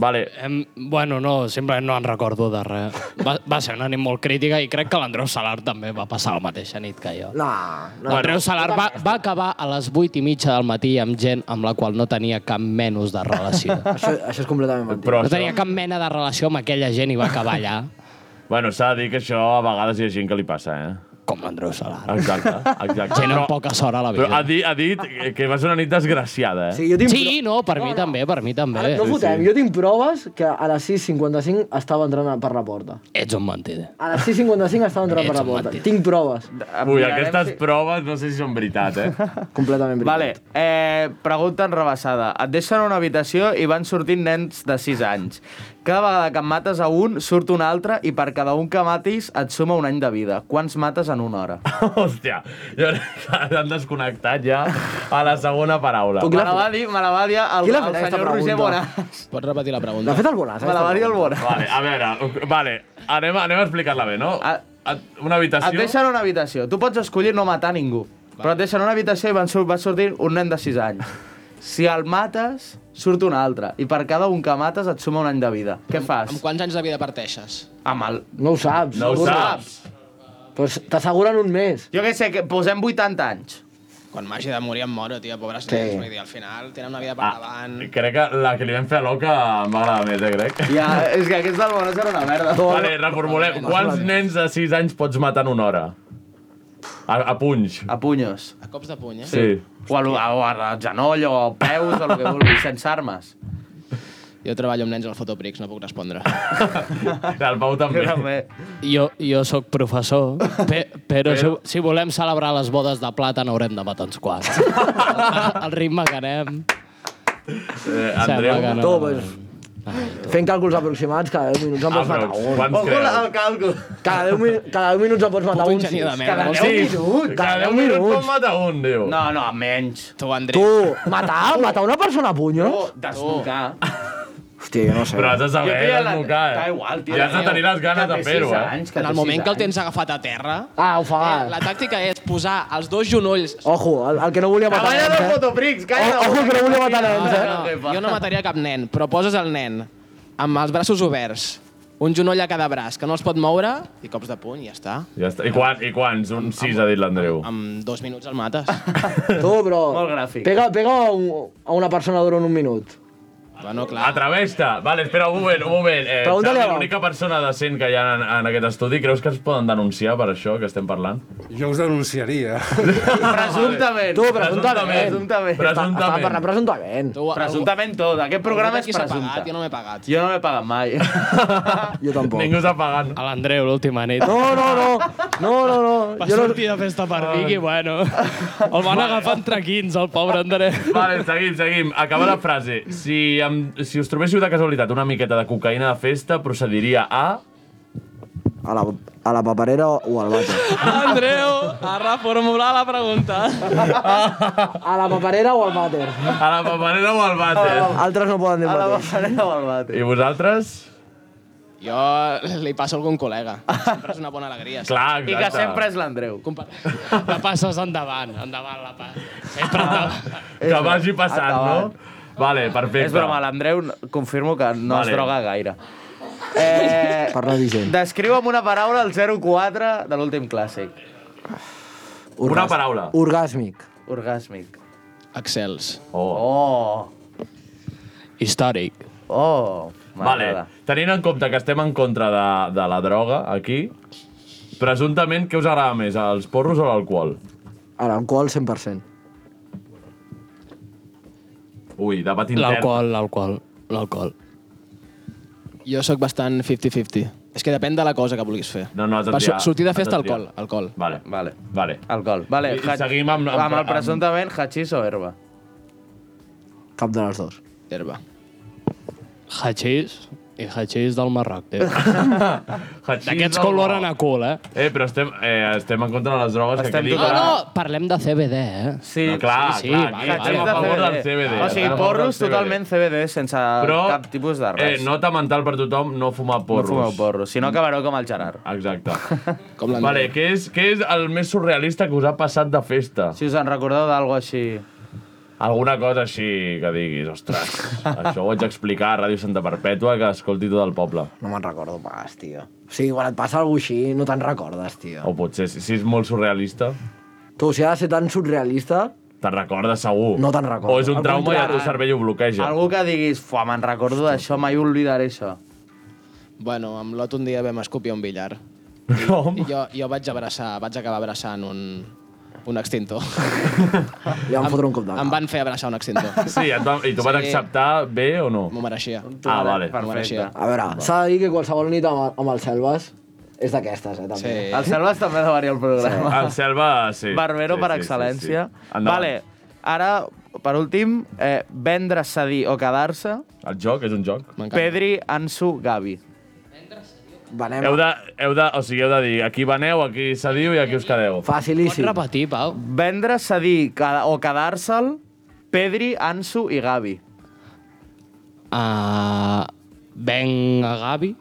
Speaker 2: Vale,
Speaker 9: Em, bueno, no, simplement no en recordo de res. Va, va ser una nit molt crítica i crec que l'Andreu Salar també va passar la mateixa nit que jo.
Speaker 8: No, no.
Speaker 9: L'Andreu Salar va, va acabar a les 8 i mitja del matí amb gent amb la qual no tenia cap menys de relació.
Speaker 8: Això, això és completament mentida.
Speaker 2: però
Speaker 9: No
Speaker 2: això,
Speaker 9: tenia cap mena de relació amb aquella gent i va acabar allà.
Speaker 2: bueno, s'ha de dir que això a vegades hi ha gent que li passa, eh?
Speaker 4: com l'Andreu Salar.
Speaker 2: Exacte, exacte.
Speaker 4: Tenen
Speaker 2: Però-
Speaker 4: poca sort a la vida.
Speaker 2: Ah. Però ha dit, ha dit que va ser una nit desgraciada, eh?
Speaker 4: sí no, per mi també, per mi també.
Speaker 8: No fotem, jo tinc proves que a les 6.55 estava entrant a- per la porta.
Speaker 4: Ets un mentider.
Speaker 8: A les 6.55 estava entrant per la porta. Tinc proves.
Speaker 2: Ui, aquestes proves no sé si són veritat, eh?
Speaker 8: Completament
Speaker 7: Vale, eh, pregunta enrebaçada. Et deixen a una habitació i van sortint nens de 6 anys. Cada vegada que en mates a un, surt un altre i per cada un que matis et suma un any de vida. Quants mates en una hora?
Speaker 2: Hòstia, jo crec que l'han desconnectat ja a la segona paraula.
Speaker 7: Me la va dir, me la va dir el,
Speaker 2: Qui l'ha
Speaker 7: el
Speaker 2: fet, aquesta
Speaker 7: senyor Roger
Speaker 2: pregunta?
Speaker 7: Bonas.
Speaker 9: Pots repetir la pregunta?
Speaker 7: L'ha fet el Bonas, Me la aquesta va dir el pregunta. Bonas.
Speaker 2: Vale, a veure, vale, anem, anem a explicar-la bé, no? A, una
Speaker 7: Ah. Et
Speaker 2: habitació...
Speaker 7: deixen una habitació. Tu pots escollir no matar ningú. Però et deixen una habitació i van sur va sortir un nen de 6 anys. Si el mates, surt un altre. I per cada un que mates et suma un any de vida. Què fas?
Speaker 9: Amb quants anys de vida parteixes?
Speaker 7: Amb el...
Speaker 8: No ho saps.
Speaker 7: No ho
Speaker 8: seguro.
Speaker 7: saps.
Speaker 8: Pues t'asseguren un mes.
Speaker 7: Jo què sé, que posem 80 anys.
Speaker 9: Quan m'hagi de morir em moro, tio, pobres
Speaker 2: Sí.
Speaker 9: sí. nens. Vull dir, al final tenen una vida
Speaker 7: Ah.
Speaker 9: per davant.
Speaker 2: Ah, Crec que la que li vam fer a l'Oca m'agrada més, eh, crec.
Speaker 7: Ja, és que aquest del Bonas era una merda.
Speaker 2: Vale, reformulem. Quants nens de 6 anys pots matar en una hora? A, a punys.
Speaker 7: A punyos.
Speaker 9: A cops de puny, eh?
Speaker 2: Sí.
Speaker 7: O al, o al genoll, o al peus, o el que vulguis, sense armes.
Speaker 9: Jo treballo amb nens al Fotoprix, no puc respondre.
Speaker 2: El Pau també.
Speaker 4: Jo, jo sóc professor, pe, però,
Speaker 9: Però-
Speaker 4: però... Si, si volem celebrar les bodes de plata n'haurem de matar uns quants.
Speaker 2: Ah,
Speaker 4: El ritme que anem...
Speaker 2: Eh,
Speaker 4: Sembla
Speaker 8: Andreu,
Speaker 4: que no.
Speaker 8: tu, pues, fent càlculs aproximats, cada 10
Speaker 2: Ah,
Speaker 8: minuts en pots matar un.
Speaker 7: càlcul.
Speaker 8: Cada 10, mi- cada 10 minuts en pots matar un. sí. Cada 10 minuts. Cada 10 minuts.
Speaker 2: mata un, diu.
Speaker 7: No, no, menys.
Speaker 9: Tu, Andreu.
Speaker 8: Tu, matar, matar una persona a punyos?
Speaker 7: Desnucar.
Speaker 8: Hòstia, jo no sé.
Speaker 2: Però has de saber
Speaker 9: Jo crec que la-
Speaker 2: desnucar, eh?
Speaker 9: Da igual, tio.
Speaker 2: I has de tenir les ganes
Speaker 9: Que
Speaker 2: de
Speaker 9: té
Speaker 2: fer-ho,
Speaker 9: sis
Speaker 2: eh?
Speaker 9: anys, que En el moment que el tens agafat a terra... eh,
Speaker 8: Ah, Oh, ofegat.
Speaker 9: La tàctica és posar els dos genolls...
Speaker 8: Ojo, el, el que no volia matar
Speaker 9: Treballa
Speaker 8: nens,
Speaker 9: del
Speaker 8: eh?
Speaker 7: Fotoprix,
Speaker 9: calla!
Speaker 8: O-
Speaker 7: oh,
Speaker 8: ojo, que no volia matar nens, eh?
Speaker 9: No, no, jo no mataria cap nen, però poses el nen amb els braços oberts, un genoll a cada braç, que no els pot moure, i cops de puny, ja està.
Speaker 2: Ja està. I, quan, I quants? Un 6 ha dit l'Andreu.
Speaker 9: Amb dos minuts el mates.
Speaker 8: Tu, però...
Speaker 2: Molt gràfic.
Speaker 8: Pega, pega a, un, a una persona durant un minut.
Speaker 9: Bueno, clar.
Speaker 2: Atreveix-te. Vale, espera un moment, un moment. Eh,
Speaker 8: Pregunta-li
Speaker 2: Xavi,
Speaker 8: a Pau.
Speaker 2: l'única persona decent que hi ha en, en aquest estudi, creus que es poden denunciar per això que estem parlant?
Speaker 11: Jo us denunciaria.
Speaker 7: Presumptament.
Speaker 8: Tu, presumptament.
Speaker 7: Presumptament.
Speaker 8: Està, està parlant presumptament.
Speaker 9: Tu,
Speaker 7: Presumptament tot. Aquest programa és
Speaker 9: Qui s'ha pagat?
Speaker 7: presumpte.
Speaker 9: Jo no m'he pagat.
Speaker 7: Jo no m'he pagat mai.
Speaker 8: jo tampoc.
Speaker 2: Ningú s'ha pagat.
Speaker 4: A l'Andreu, l'última nit.
Speaker 8: No, no, no. No, no, no.
Speaker 4: Va sortir de festa per Vic i, bueno... El van agafar entre 15, el pobre Andreu.
Speaker 2: Vale, seguim, seguim. Acaba la frase. Si, em, si us trobéssiu de casualitat una miqueta de cocaïna de festa, procediria a...
Speaker 8: A la, a la paperera o al vàter.
Speaker 9: Andreu, a reformular la pregunta.
Speaker 8: A la paperera o al vàter.
Speaker 2: A la paperera o al vàter?
Speaker 8: Altres no poden dir el mateix.
Speaker 7: paperera o al vàter.
Speaker 2: I vosaltres?
Speaker 9: Jo li passo a algun col·lega. Sempre és una bona alegria.
Speaker 2: Clar,
Speaker 9: I
Speaker 2: exacte.
Speaker 9: que sempre
Speaker 7: és l'Andreu.
Speaker 9: Compa-
Speaker 4: La passes endavant, endavant la passes. Sempre
Speaker 9: Ah.
Speaker 4: endavant.
Speaker 2: Que vagi passant, no? Vale, perfecte.
Speaker 7: És broma, l'Andreu confirmo que no
Speaker 2: Vale.
Speaker 7: es droga gaire. Eh,
Speaker 8: Parla d'Hisenda.
Speaker 7: descriu amb una paraula el 04 de l'últim clàssic.
Speaker 2: Una paraula.
Speaker 8: Orgàsmic.
Speaker 7: Orgàsmic.
Speaker 4: Excels.
Speaker 7: Oh.
Speaker 4: Històric.
Speaker 7: Oh.
Speaker 2: Vale,
Speaker 7: M'agrada.
Speaker 2: tenint en compte que estem en contra de, de la droga, aquí, presumptament, què us agrada més, els porros o l'alcohol?
Speaker 8: A l'alcohol 100%.
Speaker 2: Ui, debat intern.
Speaker 4: L'alcohol, l'alcohol, l'alcohol.
Speaker 9: Jo sóc bastant 50-50. És que depèn de la cosa que vulguis fer.
Speaker 2: No, no, has de
Speaker 9: Per
Speaker 2: triar,
Speaker 9: su- sortir de
Speaker 2: has de
Speaker 9: festa,
Speaker 2: triar.
Speaker 9: alcohol. alcohol.
Speaker 2: Vale.
Speaker 7: Vale.
Speaker 2: Vale.
Speaker 7: Alcohol. Vale,
Speaker 2: I, i seguim amb...
Speaker 7: amb, amb el presumptament hachís o herba.
Speaker 8: Cap de les dues.
Speaker 9: Herba.
Speaker 4: Hachís i hachís del Marroc, tio.
Speaker 2: Hachís
Speaker 4: D'aquests
Speaker 2: del
Speaker 4: coloren a cul, eh?
Speaker 2: Eh, però estem, eh, estem en contra de les drogues
Speaker 7: Estem
Speaker 2: que
Speaker 4: No,
Speaker 2: quedi...
Speaker 4: no, parlem de CBD, eh?
Speaker 7: Sí,
Speaker 2: No, clar,
Speaker 4: sí, sí,
Speaker 2: clar,
Speaker 4: vale,
Speaker 2: aquí estem
Speaker 4: vale.
Speaker 2: a favor del CBD.
Speaker 7: O sigui,
Speaker 2: estem a favor
Speaker 7: porros
Speaker 2: del CBD.
Speaker 7: totalment CBD, sense
Speaker 2: Però,
Speaker 7: cap tipus de res.
Speaker 2: Eh, nota mental per tothom, no fumar
Speaker 7: no
Speaker 2: porros.
Speaker 7: fumeu porros, si no acabareu com el Gerard.
Speaker 2: Exacte.
Speaker 9: Com
Speaker 2: Vale, què és, què és el més surrealista que us ha passat de festa?
Speaker 7: Si us en recordeu d'algo així...
Speaker 2: Alguna cosa així que diguis, ostres, això ho vaig explicar a Ràdio Santa Perpètua, que escolti tot el poble.
Speaker 8: No me'n recordo pas, tio. O sigui, quan et passa alguna cosa així, no te'n recordes, tio.
Speaker 2: O potser, si, si és molt surrealista,
Speaker 8: Tu, si ha de ser tan surrealista...
Speaker 2: te'n recordes segur.
Speaker 8: No te'n recordo.
Speaker 2: O és un
Speaker 8: Al
Speaker 2: trauma i el
Speaker 8: contrari.
Speaker 2: teu cervell ho bloqueja.
Speaker 7: Algú que diguis, fuà, me'n recordo d'això, mai oblidaré això.
Speaker 9: Bueno, amb l'Ot un dia vam escopir un billar.
Speaker 12: I jo, jo vaig abraçar, vaig acabar abraçant un, un extintor.
Speaker 7: Li van fotre un cop de
Speaker 12: Em van fer abraçar un extintor.
Speaker 2: Sí, et van, i t'ho van
Speaker 12: Sí.
Speaker 2: acceptar bé o no?
Speaker 12: M'ho mereixia.
Speaker 2: Ah, vale.
Speaker 12: M'ho mereixia.
Speaker 7: A veure, s'ha de dir que qualsevol nit amb, amb els selves és d'aquestes, eh, també.
Speaker 12: Sí.
Speaker 8: El Selves també demaria el programa.
Speaker 2: El Selva, sí.
Speaker 8: Barbero
Speaker 2: sí,
Speaker 8: per
Speaker 2: sí,
Speaker 8: excel·lència.
Speaker 2: Sí, sí,
Speaker 8: Vale, ara, per últim, eh, vendre, cedir o quedar-se.
Speaker 2: El joc és un joc.
Speaker 8: Pedri, Ansu, Gavi.
Speaker 7: Venem.
Speaker 2: Heu de, heu de, o sigui, heu de dir aquí veneu, aquí cediu i aquí us quedeu.
Speaker 7: Facilíssim.
Speaker 9: Pots repetir, Pau?
Speaker 8: Vendre, cedir ca- o quedar-se'l, Pedri, Ansu i Gavi.
Speaker 9: Uh, venc a Gavi.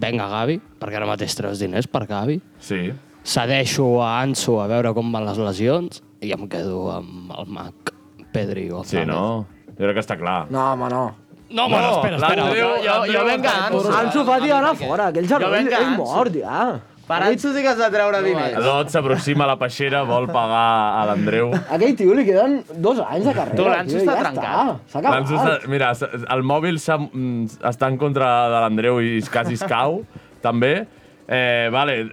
Speaker 9: Venc a Gavi, perquè ara mateix treus diners per Gavi.
Speaker 2: Sí.
Speaker 9: Cedeixo a Anso a veure com van les lesions i em quedo amb el Mac Pedri González.
Speaker 2: Sí, no? Jo crec que està clar.
Speaker 7: No, home, no.
Speaker 9: No, home, no,
Speaker 2: No,
Speaker 9: espera, espera.
Speaker 2: l'Andreu-
Speaker 9: Jo- jo- jo venc a Ansu.
Speaker 7: Ansu Fati ara fora, aquell
Speaker 8: Jo
Speaker 7: germà
Speaker 8: venc a
Speaker 7: és
Speaker 8: Ansu.
Speaker 7: mort, ja.
Speaker 8: Per Ansu sí que has de treure diners.
Speaker 2: L'Ot s'aproxima a la peixera, vol pagar a l'Andreu.
Speaker 7: Aquell tio li queden dos anys de carrera.
Speaker 8: Tu, l'Ansu
Speaker 7: tio,
Speaker 8: està
Speaker 7: ja
Speaker 8: trencat.
Speaker 7: està, S'ha acabat.
Speaker 2: L'Ansu està- Mira, s- el mòbil s'ha- mm, està en contra de l'Andreu i quasi es cau, també. Eh, vale,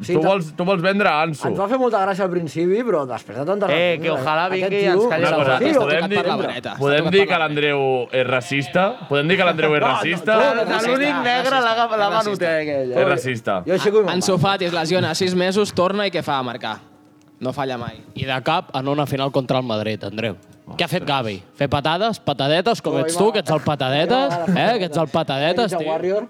Speaker 7: Sí,
Speaker 2: tu,
Speaker 7: ta-
Speaker 2: vols, tu vols vendre a Ansu.
Speaker 7: Ens va fer molta gràcia al principi, però després de tantes...
Speaker 8: Eh,
Speaker 7: reunions,
Speaker 8: que ojalà
Speaker 7: aquest
Speaker 8: vingui i ens
Speaker 7: tio-
Speaker 8: calli
Speaker 2: Una
Speaker 8: la
Speaker 2: cosa,
Speaker 8: boca.
Speaker 7: Sí, o-
Speaker 2: podem dir,
Speaker 12: la vareta, està
Speaker 2: podem
Speaker 12: tocat
Speaker 2: dir
Speaker 12: per
Speaker 2: que
Speaker 12: la
Speaker 2: l'Andreu és racista? Podem dir que l'Andreu és racista?
Speaker 8: De L'únic negre l'ha l'ha venut, eh, aquell.
Speaker 2: És racista.
Speaker 7: Jo aixeco i me'n
Speaker 12: Ansu Fati es lesiona a 6 mesos, torna i què fa a marcar? No falla mai.
Speaker 9: I de cap en una final contra el Madrid, Andreu. Què ha fet Gavi? Fer patades, patadetes, com ets tu, que ets el patadetes, eh? Que ets el patadetes,
Speaker 7: Ninja
Speaker 9: tio.
Speaker 7: Warrior.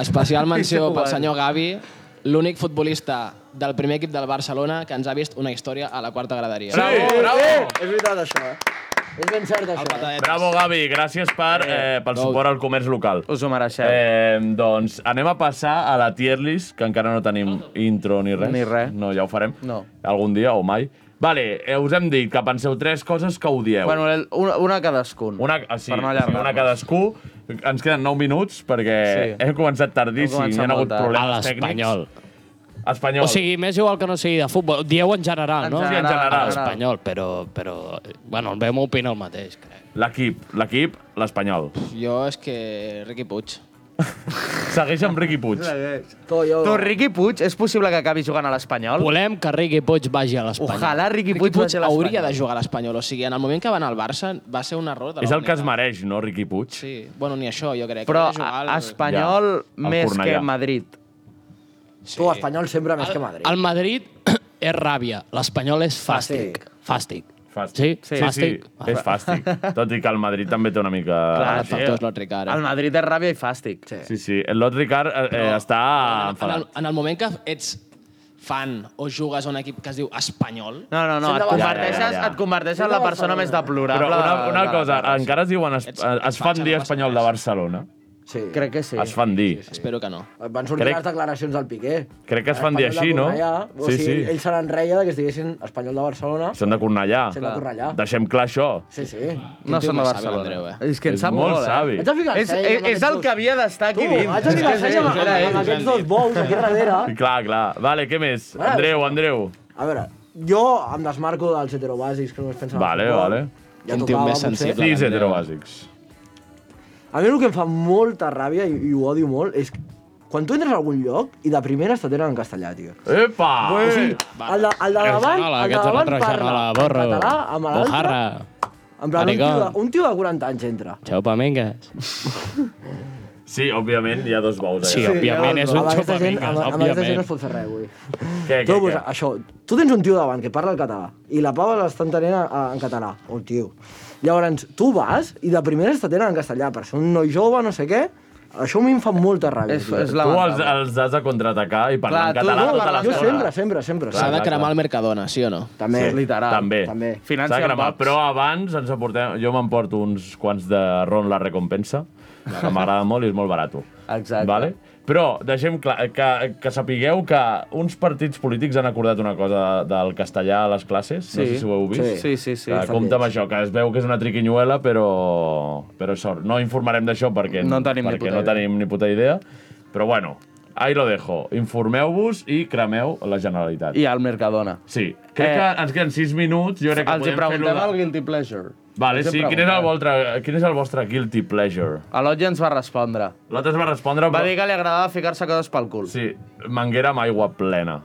Speaker 12: Especial menció pel senyor Gavi, l'únic futbolista del primer equip del Barcelona que ens ha vist una història a la quarta graderia.
Speaker 2: Bravo,
Speaker 7: Eh,
Speaker 2: bravo!
Speaker 7: eh, és veritat, això, eh? És ben cert, això. eh?
Speaker 2: Bravo, Gavi, gràcies per, eh, pel suport al comerç local.
Speaker 8: Us ho mereixeu.
Speaker 2: Eh, doncs anem a passar a la tier list, que encara no tenim intro ni res.
Speaker 8: Ni res.
Speaker 2: No, ja ho farem.
Speaker 8: No.
Speaker 2: Algun dia o mai. Vale, eh, us hem dit que penseu tres coses que odieu.
Speaker 8: Bueno, el- una, una cadascun.
Speaker 2: Una, ah, sí,
Speaker 8: per no
Speaker 2: sí,
Speaker 8: allargar-nos.
Speaker 2: una cadascú. Ens queden 9 minuts perquè sí.
Speaker 8: Sí.
Speaker 2: hem començat tardíssim,
Speaker 8: Hem
Speaker 2: hi
Speaker 8: començat
Speaker 2: ha
Speaker 8: molt
Speaker 2: hagut
Speaker 8: tard.
Speaker 9: A
Speaker 2: problemes tècnics.
Speaker 9: l'Espanyol.
Speaker 2: Espanyol.
Speaker 9: O sigui, més igual que no sigui de futbol. Dieu en general,
Speaker 8: En
Speaker 9: no?
Speaker 8: general,
Speaker 2: en general.
Speaker 9: A l'Espanyol, però, però... Bueno, el meu opina el mateix, crec.
Speaker 2: l'equip, l'equip, l'Espanyol.
Speaker 12: Jo és que Riqui Puig.
Speaker 2: Segueix amb Riqui Puig.
Speaker 7: Tu, jo...
Speaker 8: Tu, Riqui Puig, és possible que acabi jugant a l'Espanyol?
Speaker 9: Volem que Riqui Puig vagi a l'Espanyol.
Speaker 8: Ojalà Riqui
Speaker 12: Riqui
Speaker 8: Puig,
Speaker 12: Puig
Speaker 8: vagi a l'Espanyol.
Speaker 12: hauria de jugar a l'Espanyol, o sigui, en el moment que va anar al Barça va ser un error de
Speaker 2: És el
Speaker 12: l'Òmnica.
Speaker 2: que es mereix, no, Riqui Puig?
Speaker 12: Sí, bueno, ni això, jo crec.
Speaker 8: Però
Speaker 12: Hauria de jugar
Speaker 8: a, Espanyol
Speaker 2: Ja, al
Speaker 8: més
Speaker 2: Cornellà.
Speaker 8: que Madrid.
Speaker 7: Tu, espanyol, sempre més que
Speaker 8: Ah,
Speaker 7: Madrid.
Speaker 9: El Madrid és ràbia, l'Espanyol és fàstic. Fàstic.
Speaker 2: Fàstic.
Speaker 9: Sí?
Speaker 2: sí,
Speaker 9: Fàstic.
Speaker 2: sí, és fàstic. Tot i que el Madrid també té una mica...
Speaker 12: Clar,
Speaker 8: sí.
Speaker 12: factors Lot Ricard.
Speaker 8: El
Speaker 12: Eh?
Speaker 8: Madrid és ràbia i fàstic. Sí.
Speaker 2: Sí, sí. El Lot Ricard eh, eh, està
Speaker 12: En, el,
Speaker 2: enfadat.
Speaker 12: en el moment que ets fan o jugues a un equip que es diu Espanyol,
Speaker 8: No, no, no, et
Speaker 7: Sent de
Speaker 8: converteixes,
Speaker 2: Barcelona. Ja, ja, ja.
Speaker 8: et converteixes en la persona més deplorable.
Speaker 2: Però una,
Speaker 8: de-
Speaker 2: una
Speaker 8: de-
Speaker 2: cosa,
Speaker 8: de-
Speaker 2: encara es diuen... Es, es fan dir espanyol de Barcelona.
Speaker 7: Sí.
Speaker 8: Crec que sí.
Speaker 2: Es fan dir.
Speaker 12: espero que no.
Speaker 7: Van sortir
Speaker 2: Crec-
Speaker 7: les declaracions del Piqué.
Speaker 2: Crec que es fan dir així,
Speaker 7: Espanyol de
Speaker 2: no?
Speaker 7: Cornellà, O
Speaker 2: Sí,
Speaker 7: sigui,
Speaker 2: sí.
Speaker 7: Ells se n'enreia de que estiguessin espanyol de Barcelona,
Speaker 2: Són de Cornellà.
Speaker 7: sent de Cornellà.
Speaker 2: Deixem clar això.
Speaker 7: Sí, sí.
Speaker 12: Quin
Speaker 8: No són
Speaker 12: tio
Speaker 8: de
Speaker 12: més savi,
Speaker 8: Barcelona.
Speaker 12: l'Andreu,
Speaker 8: És que en
Speaker 2: És
Speaker 8: sap
Speaker 2: molt
Speaker 8: molt,
Speaker 2: savi.
Speaker 8: eh?
Speaker 7: Haig de ficar el
Speaker 8: És, és,
Speaker 7: seny amb
Speaker 8: és el
Speaker 7: aquests
Speaker 8: que havia d'estar
Speaker 7: Tu,
Speaker 8: aquí dins.
Speaker 7: haig de ficar el
Speaker 8: És que
Speaker 7: seny amb,
Speaker 8: era
Speaker 7: amb,
Speaker 8: ell.
Speaker 7: amb aquests dos bous aquí darrere.
Speaker 2: I clar, clar. Vale, què més? Andreu, Andreu.
Speaker 7: A veure, jo em desmarco dels heterobàsics que només pensen en el
Speaker 2: Vale,
Speaker 7: futbol.
Speaker 2: vale.
Speaker 7: Ja
Speaker 12: Un tio
Speaker 7: tocava,
Speaker 12: més
Speaker 7: potser.
Speaker 12: sensible.
Speaker 2: Sí, heterobàsics.
Speaker 7: A mi el que em fa molta ràbia, i, i ho odio molt, és quan tu entres a algun lloc i de primera te tenen en castellà, tio.
Speaker 2: Epa!
Speaker 7: O sigui, el de, el de davant, el
Speaker 9: Genola,
Speaker 7: de
Speaker 9: que ets un
Speaker 7: davant
Speaker 9: altre
Speaker 7: parla
Speaker 9: genola,
Speaker 7: en
Speaker 9: borro.
Speaker 7: català amb l'altre.
Speaker 9: Bojarra.
Speaker 7: En plan, un tio, de,
Speaker 9: Maricón.
Speaker 7: un tio de 40 anys entra.
Speaker 9: Xau, pamengues.
Speaker 2: Sí, òbviament, hi ha dos bous eh? allà.
Speaker 9: Sí, òbviament, és un
Speaker 7: Amb
Speaker 9: xau,
Speaker 7: aquesta gent, amb, amb aquesta gent
Speaker 9: òbviament.
Speaker 7: no es pot fer res, avui.
Speaker 2: Què, què,
Speaker 7: Tu, pues,
Speaker 2: què?
Speaker 7: això, tu tens un tio davant que parla el català i la pava l'està entenent en, en català, un tio. Llavors, tu vas i de primeres t'atenen en castellà per ser un noi jove, no sé què, això a mi em fa molta ràbia.
Speaker 8: És,
Speaker 7: tio.
Speaker 8: és
Speaker 2: Tu els,
Speaker 8: lamentable. els...
Speaker 2: els has de contraatacar i parlar
Speaker 8: Clar,
Speaker 2: en
Speaker 8: tu
Speaker 2: català
Speaker 8: no,
Speaker 2: tota
Speaker 8: parlar-
Speaker 7: jo
Speaker 2: l'estona.
Speaker 7: sempre, sempre, sempre.
Speaker 12: S'ha de
Speaker 2: clar,
Speaker 12: cremar el Mercadona, sí o no?
Speaker 7: També.
Speaker 8: Sí. Literal.
Speaker 2: També.
Speaker 7: També.
Speaker 8: Financia
Speaker 2: S'ha de cremar,
Speaker 8: box.
Speaker 2: però abans ens aportem... Jo m'emporto uns quants de Ron la recompensa, que m'agrada molt i és molt barat.
Speaker 8: Exacte.
Speaker 2: Vale? Però deixem clar, que, que sapigueu que uns partits polítics han acordat una cosa del castellà a les classes, no
Speaker 8: Sí.
Speaker 2: sé si ho heu vist.
Speaker 8: Sí, sí, sí.
Speaker 2: Que
Speaker 8: Estan
Speaker 2: compta amb això, que es veu que és una triquinyuela, però, però sort. No informarem d'això perquè,
Speaker 8: No en tenim ni
Speaker 2: perquè
Speaker 8: puta
Speaker 2: no
Speaker 8: idea.
Speaker 2: tenim ni puta idea. Però bueno, ahí lo dejo. Informeu-vos i cremeu la Generalitat.
Speaker 8: I el Mercadona.
Speaker 2: Sí, crec
Speaker 8: Eh,
Speaker 2: que ens queden 6 minuts. Jo crec que
Speaker 8: Els hi
Speaker 2: podem fer-ho
Speaker 8: preguntem
Speaker 2: de-
Speaker 8: el Guilty Pleasure.
Speaker 2: Vale,
Speaker 8: Us hem
Speaker 2: sí, quin és, el vostre, quin és el vostre guilty pleasure?
Speaker 8: Elodie ens va respondre.
Speaker 2: L'altre es va respondre...
Speaker 8: Ah. Va dir que li agradava ficar-se coses pel cul.
Speaker 2: Sí, manguera amb aigua plena.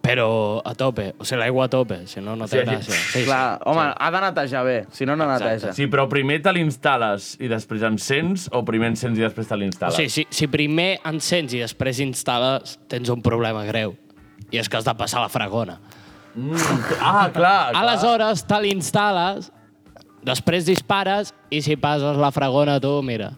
Speaker 9: Però a tope, o sigui, l'aigua a tope, si no, no té
Speaker 2: Sí,
Speaker 9: gràcia. Sí,
Speaker 8: Clar, home, ha de netejar bé, si no, no neteja.
Speaker 2: Sí, però primer te l'instal·les i després encens, o primer encens i després te
Speaker 9: O
Speaker 2: l'instal·les?
Speaker 9: sigui, si, si primer encens i després instal·les, tens un problema greu. I és que has de passar la fragona.
Speaker 2: Mm, ah, clar, clar.
Speaker 9: Aleshores, te l'instal·les, després dispares i si passes la fragona tu, mira,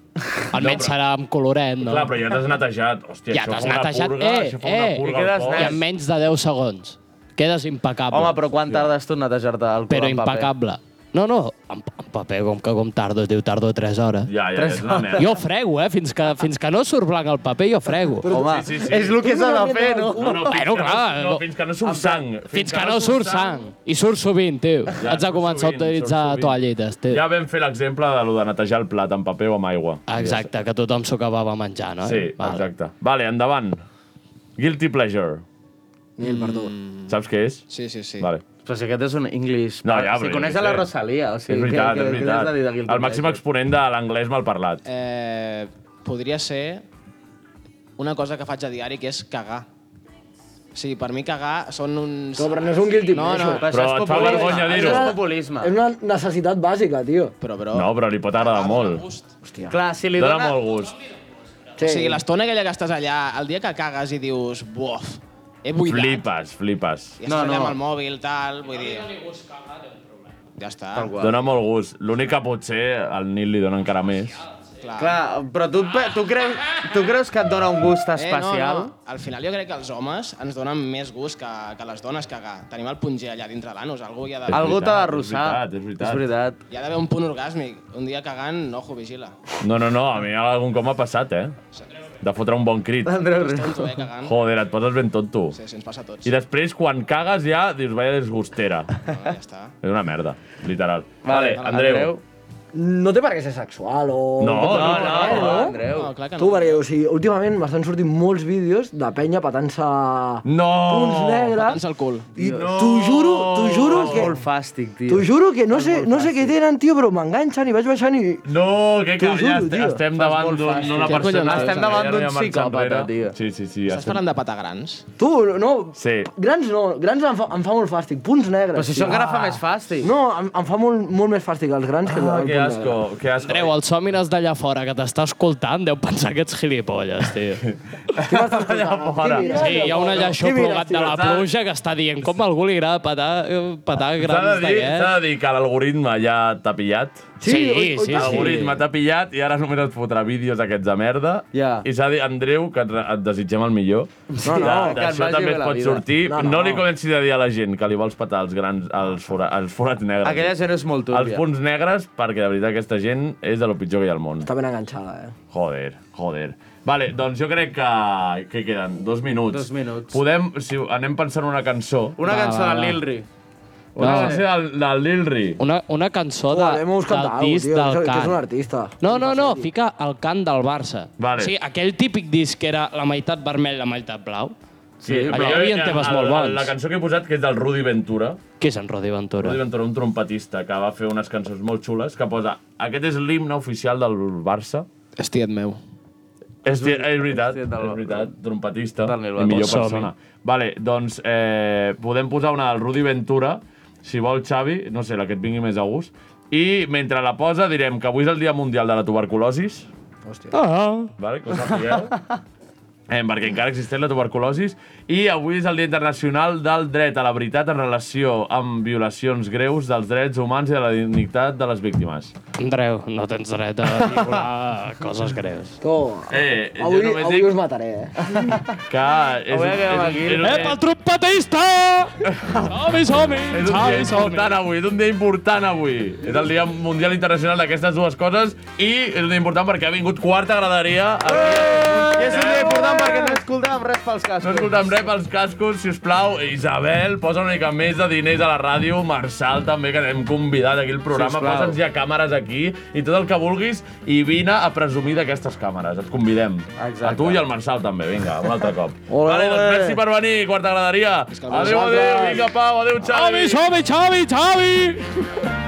Speaker 9: almenys serà amb coloret, no?
Speaker 2: Clar, però ja t'has netejat. Hòstia,
Speaker 9: ja
Speaker 2: això
Speaker 9: t'has
Speaker 2: fa una
Speaker 9: netejat.
Speaker 2: purga,
Speaker 9: eh,
Speaker 2: això fa una
Speaker 9: eh,
Speaker 2: purga
Speaker 9: i,
Speaker 2: al
Speaker 9: quedes
Speaker 2: cos.
Speaker 9: i en menys de 10 segons. Quedes impecable.
Speaker 8: Home, però quan tardes tu en netejar-te el cul
Speaker 9: Però
Speaker 8: amb paper?
Speaker 9: impecable. No, no, en, en paper, com que com tardo, diu tardo 3 hores.
Speaker 2: Ja, ja,
Speaker 8: Tres és una hores. merda.
Speaker 9: Jo frego, eh? Fins que, fins que no surt blanc el paper, jo frego.
Speaker 8: Home, sí, sí, sí. és el que s'ha de fer, no?
Speaker 2: No, no, fins
Speaker 9: bueno,
Speaker 2: que no-
Speaker 9: clar.
Speaker 2: no, fins que no surt sang.
Speaker 9: Fins, que, no surt sang. I surt sovint, tio.
Speaker 2: Ja,
Speaker 9: Ja, Haig de
Speaker 2: surt
Speaker 9: començar
Speaker 2: sovint,
Speaker 9: a utilitzar
Speaker 2: surt sovint.
Speaker 9: toallites, tio.
Speaker 2: Ja vam fer l'exemple de lo de netejar el plat amb paper o amb aigua.
Speaker 9: Exacte, que tothom s'ho acabava menjant, oi?
Speaker 2: Sí, exacte. Vale, endavant. Guilty pleasure. Mm.
Speaker 13: Nil Verdú.
Speaker 2: Saps què és?
Speaker 13: Sí, sí, sí.
Speaker 2: Vale.
Speaker 8: Però si aquest és un English...
Speaker 2: No, ja,
Speaker 8: si
Speaker 2: però
Speaker 8: coneix
Speaker 2: jo
Speaker 8: a la
Speaker 2: què sé.
Speaker 8: Rosalia, o sigui...
Speaker 2: és veritat,
Speaker 8: què,
Speaker 2: és
Speaker 8: què- què
Speaker 2: veritat.
Speaker 8: n'has de dir de Guilty
Speaker 2: el màxim
Speaker 8: Pleasure?
Speaker 2: exponent de l'anglès mal parlat.
Speaker 13: Eh, podria ser una cosa que faig a diari, que és cagar. Sí, per mi cagar són uns...
Speaker 14: No, però no és un guilty
Speaker 13: No, no.
Speaker 14: pleasure.
Speaker 2: Però et fa vergonya dir-ho.
Speaker 8: populisme.
Speaker 14: És una necessitat bàsica, tio.
Speaker 13: Però, però...
Speaker 2: No, però li pot agradar molt.
Speaker 8: Hòstia. Clar, si li
Speaker 2: Dóna
Speaker 8: dona...
Speaker 2: molt gust.
Speaker 13: Sí. O sigui, l'estona aquella que estàs allà, el dia que cagues i dius, buf, he buidat.
Speaker 2: Flipes, flipes.
Speaker 13: I estàs no, allà amb el mòbil, tal, vull dir... Ja està.
Speaker 2: Dóna molt gust. L'únic que potser al Nil li dona encara més.
Speaker 8: Clar, però tu, et pe- tu, creus, tu creus que et dona un gust especial?
Speaker 13: Eh, no, no. Al final jo crec que els homes ens donen més gust que, que les dones cagar. Tenim el punt G allà dintre l'anus, algú hi ha
Speaker 2: Ah.
Speaker 13: d'haver.
Speaker 8: Algú t'ha de rossar.
Speaker 2: veritat, és veritat.
Speaker 8: És veritat.
Speaker 13: Hi ha d'haver un punt orgàsmic. Un dia cagant, ojo, vigila.
Speaker 2: No, no, no, a mi algun cop m'ha passat, eh? De fotre un bon crit.
Speaker 8: L'Andreu Riu.
Speaker 13: Tonto, eh, cagant.
Speaker 2: Joder, et poses ben tonto.
Speaker 13: Sí, sí, ens passa a tots.
Speaker 2: I després, quan cagues, ja dius, vaya desgustera.
Speaker 13: No, Ah, ja està.
Speaker 2: És una merda, literal. Vale, Andreu.
Speaker 14: No té per què ser sexual o...
Speaker 2: No, no, no,
Speaker 14: Eh,
Speaker 2: no.
Speaker 8: Andreu.
Speaker 13: No, clar que
Speaker 14: Tu,
Speaker 13: no.
Speaker 14: perquè, o sigui, últimament m'estan sortint molts vídeos de penya petant-se punts negres
Speaker 13: Pata'ns el cul.
Speaker 14: i t'ho juro, t'ho juro
Speaker 8: És
Speaker 14: que...
Speaker 8: molt fàstic, tio.
Speaker 14: T'ho juro que no sé, no sé què tenen, tio, però m'enganxen i vaig baixant i...
Speaker 2: No, que
Speaker 14: T'ho
Speaker 2: cap, ja
Speaker 14: juro,
Speaker 2: est-
Speaker 14: tio.
Speaker 2: estem
Speaker 8: Fas
Speaker 2: davant
Speaker 8: molt
Speaker 2: d'un-
Speaker 8: fàcil.
Speaker 2: d'una
Speaker 8: Què
Speaker 2: persona...
Speaker 8: collons,
Speaker 2: que
Speaker 8: estem
Speaker 2: ja
Speaker 8: davant
Speaker 2: no hi ha
Speaker 8: d'un
Speaker 2: marxa
Speaker 8: psicòpata,
Speaker 2: enrere.
Speaker 8: tio.
Speaker 2: Sí, sí, sí.
Speaker 13: Estàs
Speaker 2: estem-
Speaker 13: parlant de patagrans?
Speaker 14: Tu, no...
Speaker 2: Sí.
Speaker 14: Grans no, grans em fa, em fa molt fàstic, punts negres.
Speaker 8: Però si
Speaker 14: tio. Ah,
Speaker 8: això encara fa més fàstic.
Speaker 14: No, em, em fa molt, molt més fàstic els grans que el,
Speaker 2: Ah,
Speaker 14: el
Speaker 2: que
Speaker 14: punt negre.
Speaker 2: asco, que asco.
Speaker 9: Andreu, el Sòmines d'allà fora que t'està escoltant deu pensar que ets gilipolles, tio.
Speaker 14: Qui m'està escoltant?
Speaker 2: Allà fora.
Speaker 14: Qui mira?
Speaker 9: Sí, hi ha un
Speaker 14: Qui
Speaker 9: allà
Speaker 14: mira,
Speaker 9: aixoplugat de la
Speaker 2: tio?
Speaker 9: pluja que està dient com a algú li agrada petar, eh, petar
Speaker 2: S'ha de,
Speaker 9: grans
Speaker 2: dir,
Speaker 8: eh?
Speaker 2: s'ha
Speaker 9: d'aquests.
Speaker 2: de dir que l'algoritme ja t'ha pillat.
Speaker 9: Sí, sí,
Speaker 14: oi, oi,
Speaker 9: sí.
Speaker 2: L'algoritme t'ha pillat i ara només et fotrà vídeos aquests de merda.
Speaker 8: Ja.
Speaker 2: I s'ha de dir, Andreu, que et, et desitgem el millor.
Speaker 14: No, no,
Speaker 8: que
Speaker 2: De-
Speaker 8: et
Speaker 2: D'això
Speaker 8: vagi
Speaker 2: també
Speaker 8: bé
Speaker 2: et
Speaker 8: la
Speaker 2: pot
Speaker 8: vida.
Speaker 2: sortir. No,
Speaker 14: No, no.
Speaker 2: li comencis a dir a la gent que li vols petar els grans, els, fora, els forats negres.
Speaker 8: Aquella gent és molt
Speaker 2: els
Speaker 8: túrbia.
Speaker 2: punts negres, perquè de veritat aquesta gent és de lo pitjor que hi ha al món.
Speaker 14: Està ben enganxada, eh?
Speaker 2: Joder, joder. Vale, doncs jo crec que... Què queden? Dos minuts.
Speaker 8: Dos minuts.
Speaker 2: Podem, si anem pensant una cançó.
Speaker 8: Una cançó de Lil Ri.
Speaker 2: Una cançó del, del Lil Ri.
Speaker 9: Una, una cançó de,
Speaker 14: Uah, hem
Speaker 9: del
Speaker 14: buscat alguna
Speaker 9: disc
Speaker 14: tio, que és-
Speaker 9: del
Speaker 14: que és un
Speaker 9: Can.
Speaker 14: artista.
Speaker 9: No, no, no, fica el cant del Barça.
Speaker 2: Vale.
Speaker 9: Sí, aquell típic disc que era la meitat vermell, la meitat blau,
Speaker 2: Sí,
Speaker 9: Allà
Speaker 2: però
Speaker 9: hi havia
Speaker 2: jo-
Speaker 9: temes
Speaker 2: el-
Speaker 9: molt bons.
Speaker 2: La cançó que he posat, que és del Rudy Ventura,
Speaker 9: que és en Rodi Ventura.
Speaker 2: Rudy Ventura, un trompetista que va fer unes cançons molt xules, que posa aquest és l'himne oficial del Barça.
Speaker 13: Estiet meu.
Speaker 2: És, di- és veritat,
Speaker 8: és
Speaker 2: és
Speaker 8: del-
Speaker 2: veritat, trompetista
Speaker 8: del Nil
Speaker 2: i millor
Speaker 9: Ventura.
Speaker 2: persona. Vale, doncs eh, podem posar una del Rudy Ventura, si vol Xavi, no sé, la que et vingui més a gust, i mentre la posa direm que avui és el Dia Mundial de la Tuberculosis,
Speaker 9: Ah,
Speaker 2: vale, que ho sapigueu, eh, perquè encara existeix la tuberculosis, i avui és el Dia Internacional del Dret a la Veritat en relació amb violacions greus dels drets humans i de la dignitat de les víctimes.
Speaker 9: Andreu, no tens dret a vincular coses greus.
Speaker 14: Tu,
Speaker 2: Eh, jo
Speaker 14: avui,
Speaker 2: només
Speaker 14: avui
Speaker 2: dic
Speaker 14: us mataré, eh?
Speaker 2: que és,
Speaker 8: Avui acabem
Speaker 2: un- és,
Speaker 8: aquí.
Speaker 2: un- és, un-
Speaker 9: Epa, el trompetista! Som-hi, som-hi!
Speaker 2: És un dia
Speaker 9: Som-hi, som-hi!
Speaker 2: important avui, és un dia important avui. És el dia mundial internacional d'aquestes dues coses i és un dia important perquè ha vingut quarta graderia. Eh!
Speaker 8: I és un dia important perquè no escoltàvem res pels
Speaker 2: No
Speaker 8: cascos.
Speaker 2: escoltem res pels cascos, si us plau. Isabel, posa una mica més de diners a la ràdio. Marçal, també, que hem convidat aquí al programa.
Speaker 8: Sisplau.
Speaker 2: Posa'ns ja càmeres aquí i tot el que vulguis i vine a presumir d'aquestes càmeres. Et convidem.
Speaker 8: Exacte.
Speaker 2: A tu i al Marçal, també. Vinga, un altre cop.
Speaker 14: Ole,
Speaker 2: vale, doncs
Speaker 14: ole.
Speaker 2: merci per venir, quarta graderia. Adéu, adéu, vinga, Pau, adéu, Xavi.
Speaker 9: Som-hi, som-hi, Xavi, Xavi!